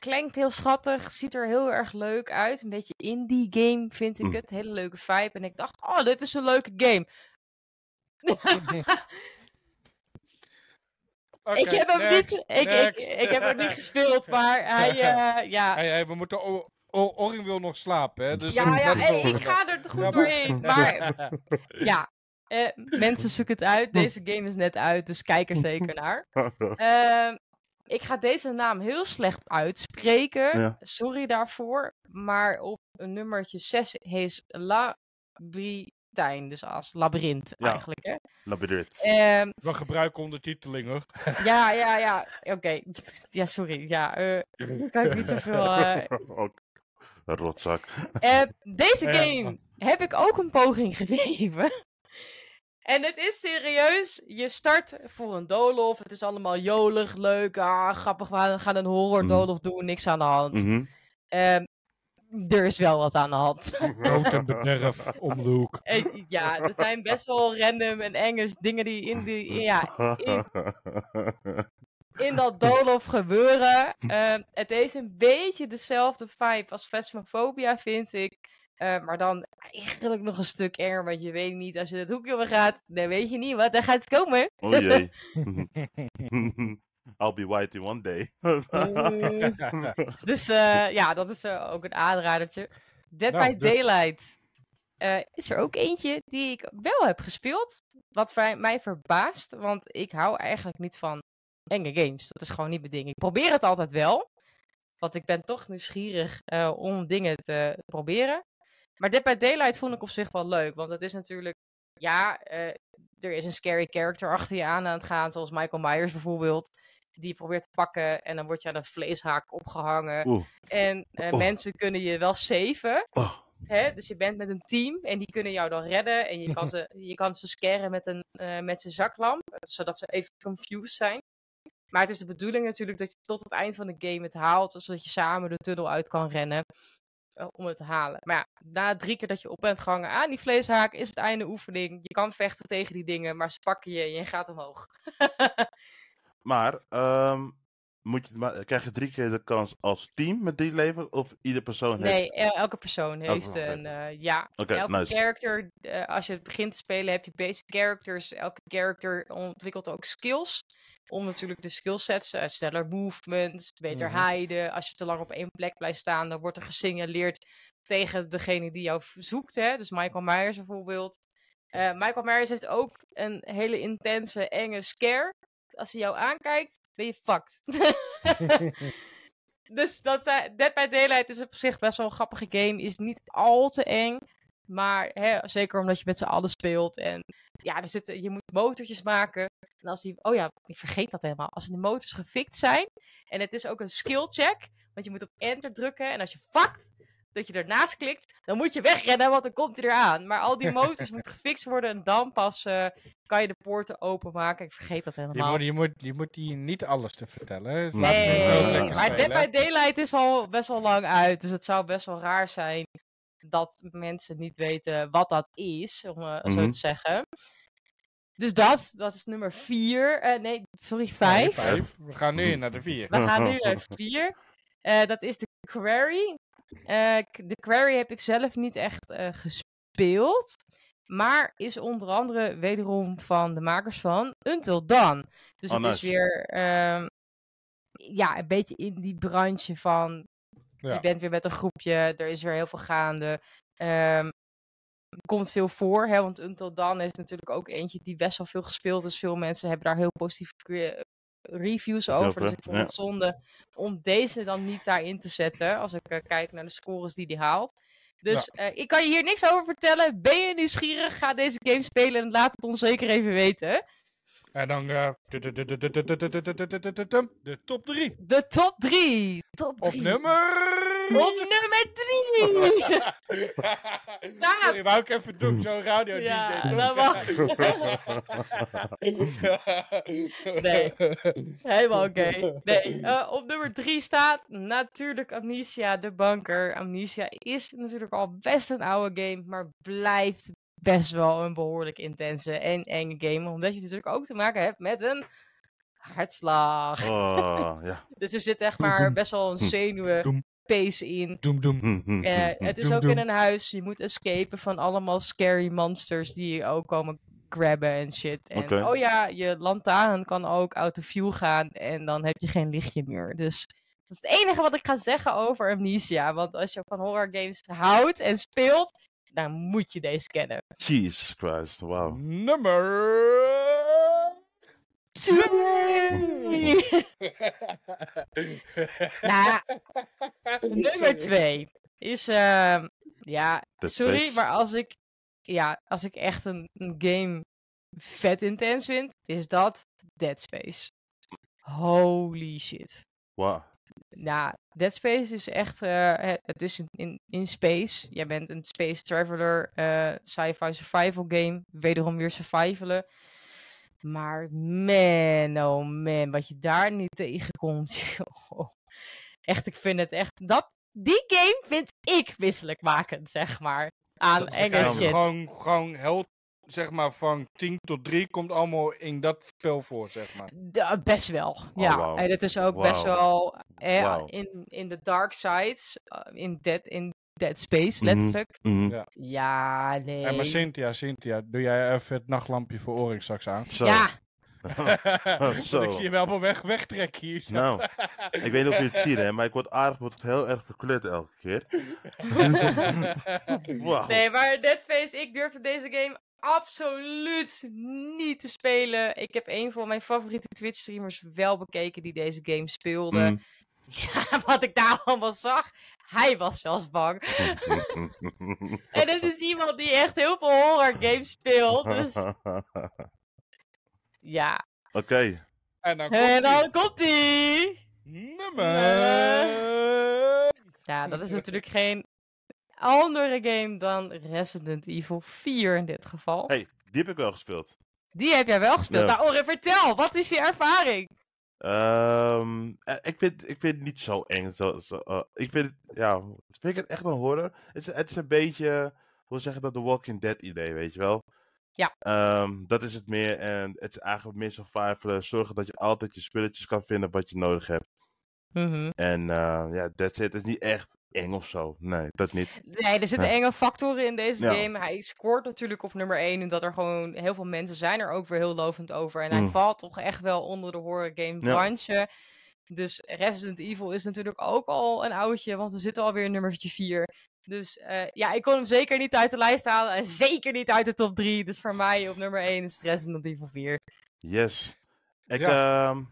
Speaker 3: Klinkt heel schattig. Ziet er heel erg leuk uit. Een beetje indie game vind ik
Speaker 2: Mm.
Speaker 3: het. Hele leuke vibe. En ik dacht, oh, dit is een leuke game. ik, heb hem
Speaker 1: next,
Speaker 3: niet, ik, ik,
Speaker 1: next.
Speaker 3: ik heb hem niet gespeeld, maar hij... eh, ja,
Speaker 1: Hey, hey, we moeten... O- O- Orin wil nog slapen, hè? Dus
Speaker 3: ja,
Speaker 1: dat-
Speaker 3: ja
Speaker 1: dat-
Speaker 3: hey, ik ga er
Speaker 1: Ja,
Speaker 3: goed
Speaker 1: maar-
Speaker 3: doorheen. Maar ja, eh, mensen zoeken het uit. Deze game is net uit, dus kijk er zeker naar. Ehm, ik ga deze naam heel slecht uitspreken.
Speaker 2: Ja.
Speaker 3: Sorry daarvoor. Maar op nummertje 6 is Labyrintijn. Dus als labyrint
Speaker 2: Ja.
Speaker 3: eigenlijk. Hè?
Speaker 2: labyrinth.
Speaker 3: Ehm,
Speaker 1: We gebruiken ondertiteling, hoor.
Speaker 3: ja, ja, ja. Oké. Ja, sorry. Ja, eh, kan ik niet zoveel... eh,
Speaker 2: Ook. Een rotzak.
Speaker 3: Eh, deze
Speaker 1: Ja.
Speaker 3: game heb ik ook een poging gegeven. En het is serieus, je start voor een doolhof. Het is allemaal jolig, leuk, ah, grappig. We gaan een horror
Speaker 2: Mhm.
Speaker 3: doolhof doen, niks aan de hand.
Speaker 2: Mhm.
Speaker 3: Ehm, er is wel wat aan de hand.
Speaker 1: Dood en bederf om de hoek.
Speaker 3: Eh, ja, er zijn best wel random en enge dingen die in, die, ja, in dat doolhof gebeuren. Ehm, het heeft een beetje dezelfde vibe als Phasmophobia, vind ik. Eh, maar dan eigenlijk nog een stuk enger, want je weet niet, als je het hoekje over gaat, dan weet je niet wat er gaat komen.
Speaker 2: Oh jee. I'll be white in one day.
Speaker 1: Mm.
Speaker 3: Dus eh, ja, dat is eh, ook een aanradertje. Dead
Speaker 1: Nou,
Speaker 3: by
Speaker 1: dus-
Speaker 3: Daylight eh, is er ook eentje die ik wel heb gespeeld. Wat vrij- mij verbaast, want ik hou eigenlijk niet van enge games. Dat is gewoon niet mijn ding. Ik probeer het altijd wel, want ik ben toch nieuwsgierig eh, om dingen te proberen. Maar Dead by Daylight vond ik op zich wel leuk, want het is natuurlijk, ja, eh, er is een scary character achter je aan aan het gaan, zoals Michael Myers bijvoorbeeld. Die je probeert te pakken en dan word je aan een vleeshaak opgehangen.
Speaker 2: Oeh.
Speaker 3: En eh,
Speaker 2: Oh.
Speaker 3: mensen kunnen je wel saven.
Speaker 2: Oh.
Speaker 3: Hè? Dus je bent met een team en die kunnen jou dan redden. En je kan ze, je kan ze scaren met, een, eh, met zijn zaklamp, eh, zodat ze even confused zijn. Maar het is de bedoeling natuurlijk dat je tot het eind van de game het haalt, zodat je samen de tunnel uit kan rennen eh, om het te halen. Maar ja, na drie keer dat je op bent gehangen aan die vleeshaak, is het einde oefening. Je kan vechten tegen die dingen, maar ze pakken je en je gaat omhoog.
Speaker 2: Maar, ehm, moet je, maar krijg je drie keer de kans als team met drie leven? Of ieder persoon heeft?
Speaker 3: Nee, el- elke persoon heeft
Speaker 2: Oh, persoon
Speaker 3: een. eh, ja,
Speaker 2: Oké,
Speaker 3: elke
Speaker 2: nice.
Speaker 3: character, eh, als je het begint te spelen, heb je basic characters. Elke character ontwikkelt ook skills. Om natuurlijk de skillsets, eh, sneller movement, beter
Speaker 1: Mhm.
Speaker 3: hiden. Als je te lang op één plek blijft staan, dan wordt er gesignaleerd tegen degene die jou v- zoekt. Hè? Dus Michael Myers bijvoorbeeld. Eh, Michael Myers heeft ook een hele intense, enge scare. Als hij jou aankijkt, ben je fucked. Dus dat, zijn- Dead by Daylight is op zich best wel een grappige game. Is niet al te eng. Maar hè, zeker omdat je met z'n allen speelt. En ja, er zitten, je moet motortjes maken. En als die, oh ja, ik vergeet dat helemaal. Als de motors gefixt zijn. En het is ook een skill check. Want je moet op enter drukken. En als je fuckt dat je ernaast klikt. Dan moet je wegrennen, want dan komt hij eraan. Maar al die motors moeten gefixt worden. En dan pas eh, kan je de poorten openmaken. Ik vergeet dat
Speaker 1: Je
Speaker 3: helemaal.
Speaker 1: moet, je, moet, je moet die niet alles te vertellen. hè. Dus laat
Speaker 2: Nee,
Speaker 1: mensen ook
Speaker 2: nee,
Speaker 1: lekker
Speaker 3: maar Dead
Speaker 1: spelen.
Speaker 3: by Daylight is al best wel lang uit. Dus het zou best wel raar zijn dat mensen niet weten wat dat is, om eh, zo
Speaker 2: Mhm.
Speaker 3: te zeggen. Dus dat, dat is nummer 4. nee, sorry, 5.
Speaker 1: Nee, vijf. We gaan nu naar de vier.
Speaker 3: We gaan nu naar 4. dat is de Quarry. Eh, k- de Quarry heb ik zelf niet echt eh, gespeeld. Maar is onder andere wederom van de makers van Until Dawn. Dus
Speaker 2: Oh,
Speaker 3: het is
Speaker 2: nice.
Speaker 3: weer ehm, ja, een beetje in die branche van
Speaker 1: Ja.
Speaker 3: je bent weer met een groepje, er is weer heel veel gaande. Ehm, er komt veel voor, hè, want Until Dawn is natuurlijk ook eentje die best wel veel gespeeld is. Veel mensen hebben daar heel positieve cre- eh, reviews
Speaker 2: Zelf,
Speaker 3: over. Dus
Speaker 2: hè?
Speaker 3: ik vond
Speaker 2: Ja.
Speaker 3: het zonde om deze dan niet daarin te zetten. Als ik eh, kijk naar de scores die die haalt. Dus eh, ik kan je hier niks over vertellen. Ben je nieuwsgierig? Ga deze game spelen en laat het ons zeker even weten.
Speaker 1: En dan eh, de top 3.
Speaker 3: De top 3. Top
Speaker 1: Op
Speaker 3: drie.
Speaker 1: nummer
Speaker 3: Op nummer drie! Stop!
Speaker 1: Sorry, wou ik even doen, zo'n radio-dj.
Speaker 3: Ja,
Speaker 1: toch?
Speaker 3: dat mag. Nee. Helemaal oké. Nee, eh, op nummer drie staat natuurlijk Amnesia, de banker. Amnesia is natuurlijk al best een oude game, maar blijft best wel een behoorlijk intense en enge game. Omdat je natuurlijk ook te maken hebt met een hartslag.
Speaker 2: Oh, ja.
Speaker 3: Dus er zit echt maar best wel een zenuwen
Speaker 1: doem.
Speaker 3: pace in.
Speaker 1: Doem, doem.
Speaker 2: Hm, hm,
Speaker 3: Eh,
Speaker 2: hm, hm.
Speaker 3: het is
Speaker 1: doem,
Speaker 3: ook
Speaker 1: doem.
Speaker 3: in een huis. Je moet escapen van allemaal scary monsters die je ook komen grabben en shit. En
Speaker 2: Oké.
Speaker 3: oh ja, je lantaarn kan ook out of view gaan en dan heb je geen lichtje meer. Dus dat is het enige wat ik ga zeggen over Amnesia. Want als je van horror games houdt en speelt, dan moet je deze kennen.
Speaker 2: Jesus Christ,
Speaker 1: Oh.
Speaker 2: wauw.
Speaker 1: Nummer...
Speaker 3: nou, nummer twee is, ehm, ja,
Speaker 2: De
Speaker 3: sorry,
Speaker 2: twee-
Speaker 3: maar als ik, ja, als ik echt een, een game vet intens vind, is dat Dead Space. Holy shit.
Speaker 2: Wauw.
Speaker 3: Nou, Dead Space is echt, eh, het- het is in, in, in space. Jij bent een space traveler, eh, sci-fi survival game, wederom weer survivalen. Maar man, oh man, wat je daar niet tegenkomt. joh. Echt, ik vind het echt, dat, die game vind ik misselijkmakend, zeg maar. Aan enge
Speaker 2: kan.
Speaker 3: shit.
Speaker 1: Gewoon, gewoon heel, zeg maar, van 10 tot 3 komt allemaal in dat spel voor, zeg maar.
Speaker 3: Da- eh, best wel,
Speaker 2: Oh,
Speaker 3: ja.
Speaker 2: wauw.
Speaker 3: En het is ook best
Speaker 2: Wauw.
Speaker 3: wel eh,
Speaker 2: Wauw.
Speaker 3: in, in de dark sides, eh, in dead, in dead space,
Speaker 2: Mhm.
Speaker 3: letterlijk.
Speaker 2: Mhm.
Speaker 1: Ja.
Speaker 3: Ja, nee.
Speaker 1: Hé, maar Cynthia, Cynthia, doe jij even het nachtlampje voor Oryx straks aan?
Speaker 2: Zo.
Speaker 3: ja,
Speaker 1: Want
Speaker 2: Ah, Zo.
Speaker 1: Ik zie je wel wel weg, wegtrekken hier.
Speaker 2: Nou, ik weet niet of je het ziet, hè, maar ik word aardig word heel erg verkleurd elke keer. Wauw.
Speaker 3: nee, maar Dead Space, ik durfde deze game absoluut niet te spelen. Ik heb een van mijn favoriete Twitch streamers wel bekeken die deze game speelde.
Speaker 2: Mm.
Speaker 3: Ja, wat ik daar allemaal zag, hij was zelfs bang.
Speaker 2: Hm,
Speaker 3: En dit is iemand die echt heel veel horror games speelt, dus
Speaker 2: Oké.
Speaker 3: ja.
Speaker 1: en dan komt
Speaker 3: En dan komt ie!
Speaker 1: nummer...
Speaker 3: Ja, dat is natuurlijk geen andere game dan Resident Evil 4 in dit geval.
Speaker 2: Hey, die heb ik wel gespeeld.
Speaker 3: Die heb jij wel gespeeld.
Speaker 2: Ja.
Speaker 3: Nou, Oren, vertel, wat is je ervaring?
Speaker 2: Ehm, eh, ik, vind, ik vind het niet zo eng. Zo, zo, eh, ik vind het, ja, vind ik het echt een horror. Het is, het is een beetje, hoe zeg je dat, The Walking Dead idee, weet je wel?
Speaker 3: Ja.
Speaker 2: Ehm, dat is het meer. En het is eigenlijk meer survivalen. Zorgen dat je altijd je spulletjes kan vinden wat je nodig hebt. En eh, ja, that's it. Het is niet echt eng of zo. Nee, dat niet.
Speaker 3: Nee, er zitten
Speaker 2: Ja.
Speaker 3: enge factoren in deze
Speaker 2: Ja.
Speaker 3: game. Hij scoort natuurlijk op nummer 1, omdat er gewoon heel veel mensen zijn er ook weer heel lovend over. En hij
Speaker 2: Mm.
Speaker 3: valt toch echt wel onder de horror game
Speaker 2: Ja.
Speaker 3: branche. Dus Resident Evil is natuurlijk ook al een oudje, want we zitten alweer nummertje 4. Dus eh, ja, ik kon hem zeker niet uit de lijst halen en zeker niet uit de top 3. Dus voor mij op nummer 1 is het Resident Evil 4.
Speaker 2: Yes. Ik, ehm,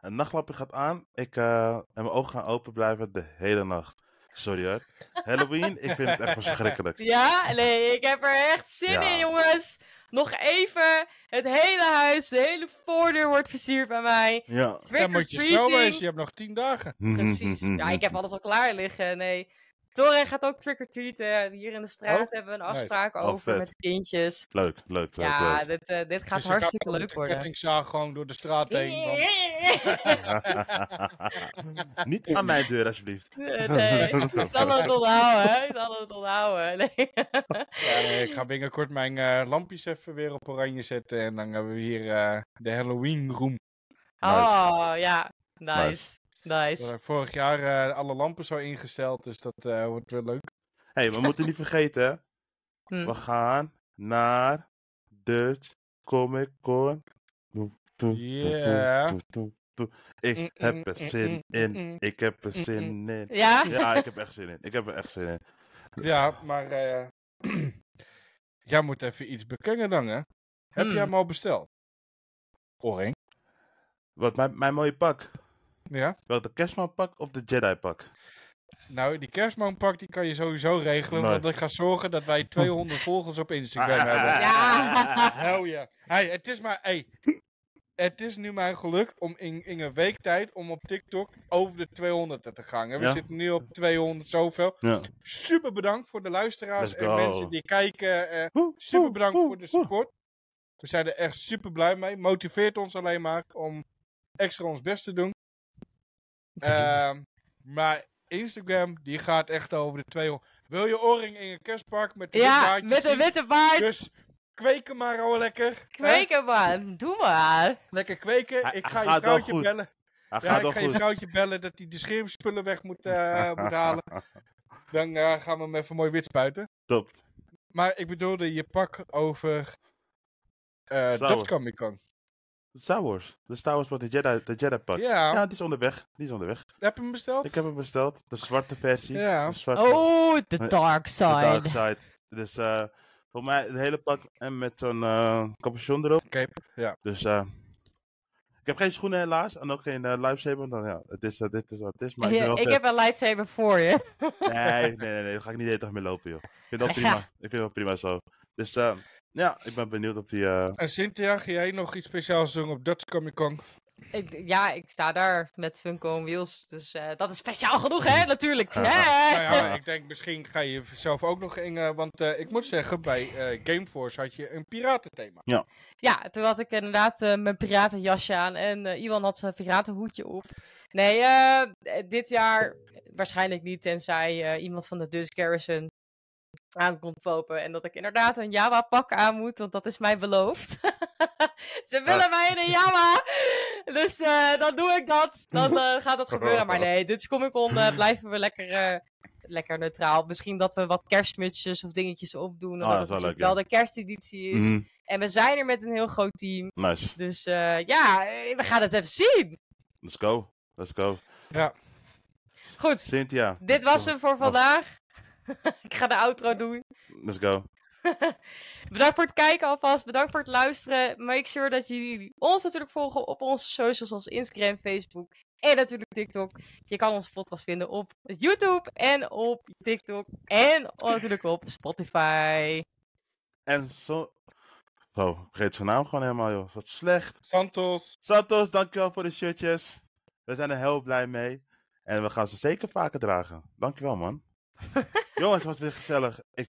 Speaker 2: een nachtlampje gaat aan. Ik, eh, en mijn ogen gaan open blijven de hele nacht. Sorry hoor. Halloween, ik vind het echt verschrikkelijk.
Speaker 3: Ja, nee, ik heb er echt zin
Speaker 2: Ja.
Speaker 3: in, jongens. Nog even, het hele huis, de hele voordeur wordt versierd bij mij.
Speaker 2: Ja.
Speaker 3: Trick
Speaker 1: Dan
Speaker 3: or
Speaker 1: moet je snel wezen, je
Speaker 3: treating.
Speaker 1: hebt nog 10 dagen.
Speaker 3: Precies. Ja, ik heb alles al klaar liggen. Nee. Torre gaat ook trick or treaten. Hier in de straat
Speaker 1: Oh,
Speaker 3: hebben we een
Speaker 1: nice.
Speaker 3: afspraak
Speaker 2: Oh,
Speaker 3: over
Speaker 2: vet.
Speaker 3: met de kindjes.
Speaker 2: Leuk, leuk, leuk.
Speaker 3: Ja,
Speaker 2: leuk.
Speaker 3: dit, eh, dit gaat
Speaker 1: Dus je
Speaker 3: hartstikke
Speaker 1: met
Speaker 3: leuk
Speaker 1: de
Speaker 3: worden.
Speaker 1: kettingzaag gewoon door de straat heen. want-
Speaker 2: Niet aan mijn deur, alsjeblieft.
Speaker 3: nee, ik zal het onthouden. Ik zal het onthouden. Nee.
Speaker 1: Ja, nee, ik ga binnenkort mijn eh, lampjes even weer op oranje zetten. En dan hebben we hier eh, de Halloween room.
Speaker 3: Oh, ja. Nice.
Speaker 2: Nice.
Speaker 1: Daar
Speaker 3: Nice.
Speaker 1: heb ik vorig jaar eh, alle lampen zo ingesteld. Dus dat eh, wordt wel leuk.
Speaker 2: hey, we moeten niet vergeten, hè.
Speaker 3: Hm.
Speaker 2: we gaan naar Dutch Comic Con. Doe, doe, doe, doe,
Speaker 1: Yeah.
Speaker 2: doe, doe, doe.
Speaker 3: Mm,
Speaker 2: Ik heb er zin in. Ik heb er zin in.
Speaker 3: Ja?
Speaker 2: Ja, ik heb er echt zin in. Ik heb er echt zin in.
Speaker 1: Ja, maar eh, jij moet even iets bekennen dan, hè? Heb jij
Speaker 3: Hmm.
Speaker 1: hem al besteld? Oring.
Speaker 2: Wat, mijn, mijn mooie pak.
Speaker 1: Ja?
Speaker 2: Wel de Kerstman pak of de Jedi pak?
Speaker 1: Nou, die kerstmanpak die kan je sowieso regelen.
Speaker 2: Nee. Ah,
Speaker 1: Want ik ga zorgen dat wij 200 volgers op Instagram hebben.
Speaker 3: Ja.
Speaker 1: Hell yeah. Hey, het is maar... Hey, Het is nu mij gelukt om in, in een week tijd om op TikTok over de 200 te gaan. We
Speaker 2: Ja.
Speaker 1: zitten nu op 200 zoveel.
Speaker 2: Ja.
Speaker 1: Super bedankt voor de luisteraars
Speaker 2: Let's
Speaker 1: en
Speaker 2: go.
Speaker 1: mensen die kijken. eh,
Speaker 2: Woe,
Speaker 1: super
Speaker 2: woe,
Speaker 1: bedankt
Speaker 2: woe,
Speaker 1: voor de
Speaker 2: woe.
Speaker 1: support. We zijn er echt super blij mee. Motiveert ons alleen maar om extra ons best te doen. Ehm, maar Instagram, die gaat echt over de 200. Wil je oorring in een kerstpark met een wit
Speaker 3: Ja,
Speaker 1: baardje
Speaker 3: met een
Speaker 1: zien?
Speaker 3: witte baard.
Speaker 1: Dus kweken maar al lekker. Hè?
Speaker 3: Kweken man, doe maar.
Speaker 1: Lekker kweken.
Speaker 2: Hij-
Speaker 1: ik
Speaker 2: hij
Speaker 1: ga je
Speaker 2: gaat wel
Speaker 1: vrouwtje
Speaker 2: goed.
Speaker 1: bellen.
Speaker 2: Hij
Speaker 1: Ja,
Speaker 2: gaat
Speaker 1: ik
Speaker 2: wel
Speaker 1: ga je
Speaker 2: goed.
Speaker 1: vrouwtje bellen dat hij de schermspullen weg moet, eh, moet halen. Dan eh, gaan we hem even mooi wit spuiten.
Speaker 2: Top.
Speaker 1: Maar ik bedoelde je pak over eh
Speaker 2: Sauer.
Speaker 1: dat Comic Con.
Speaker 2: Star Wars. De Star Wars wat de Jedi, de Jedi pak.
Speaker 1: Ja,
Speaker 2: Ja, die is onderweg. Die is onderweg.
Speaker 1: heb je hem besteld?
Speaker 2: Ik heb hem besteld. De zwarte versie.
Speaker 1: Ja.
Speaker 2: De zwarte
Speaker 3: Oh, de
Speaker 2: Nee,
Speaker 3: dark
Speaker 2: de
Speaker 3: side.
Speaker 2: dark side. Dus eh voor mij een hele pak en met zo'n eh capuchon erop.
Speaker 1: Cape, ja.
Speaker 2: Dus eh ik heb geen schoenen helaas. En ook geen eh, lifesaver. want Dan, ja, het is, eh, dit is wat het is. Maar
Speaker 3: Hier,
Speaker 2: ik,
Speaker 3: ik
Speaker 2: ben wel
Speaker 3: heb een lightsaber voor je.
Speaker 2: vet. Nee, nee, nee, nee. Dan ga ik niet de hele dag mee lopen, joh. Ik vind dat
Speaker 3: Ja.
Speaker 2: prima. Ik vind dat prima zo. Dus eh, ja, ik ben benieuwd of die... eh,
Speaker 1: En Cynthia, ga jij nog iets speciaals doen op Dutch Comic Con?
Speaker 3: Ik, ja, ik sta daar met Funko on Wheels. Dus eh, dat is speciaal genoeg, hè? Natuurlijk. Hè?
Speaker 1: Nou ja, ik denk misschien ga je zelf ook nog in... eh, want eh, ik moet zeggen, bij eh, Gameforce had je een piratenthema.
Speaker 3: Ja, toen had ik inderdaad eh, mijn piratenjasje aan en eh Iwan had zijn piratenhoedje op. Nee, eh, eh, dit jaar waarschijnlijk niet, tenzij eh, iemand van de Dus Garrison aan komt popen. En dat ik inderdaad een Java-pak aan moet, want dat is mij beloofd. Ze willen mij in een Java! Dus eh, dan doe ik dat. Dan eh, gaat dat gebeuren. Maar nee, Dutch Comic Con eh, blijven we lekker, eh, lekker neutraal. Misschien dat we wat kerstmutsjes of dingetjes opdoen. Omdat
Speaker 2: dat
Speaker 3: het
Speaker 2: Ah, is wel
Speaker 3: natuurlijk
Speaker 2: leuk,
Speaker 3: wel
Speaker 2: ja.
Speaker 3: de kersteditie is.
Speaker 2: mhm,
Speaker 3: En we zijn er met een heel groot team.
Speaker 2: nice.
Speaker 3: Dus eh, ja, eh, we gaan het even zien.
Speaker 2: Let's go. Let's go.
Speaker 1: Ja,
Speaker 3: Goed,
Speaker 2: Cynthia.
Speaker 3: dit was hem voor vandaag. Ik ga de outro doen.
Speaker 2: Let's go.
Speaker 3: Bedankt voor het kijken alvast. Bedankt voor het luisteren. Make sure dat jullie ons natuurlijk volgen op onze socials zoals Instagram, Facebook en natuurlijk TikTok. Je kan onze podcast vinden op YouTube en op TikTok en natuurlijk op Spotify.
Speaker 2: En zo... Zo, vergeet zijn naam gewoon helemaal, joh. Wat slecht.
Speaker 1: Santos.
Speaker 2: Santos, dankjewel voor de shirtjes. We zijn er heel blij mee. En we gaan ze zeker vaker dragen. Dankjewel, man. Jongens, was weer gezellig. Ik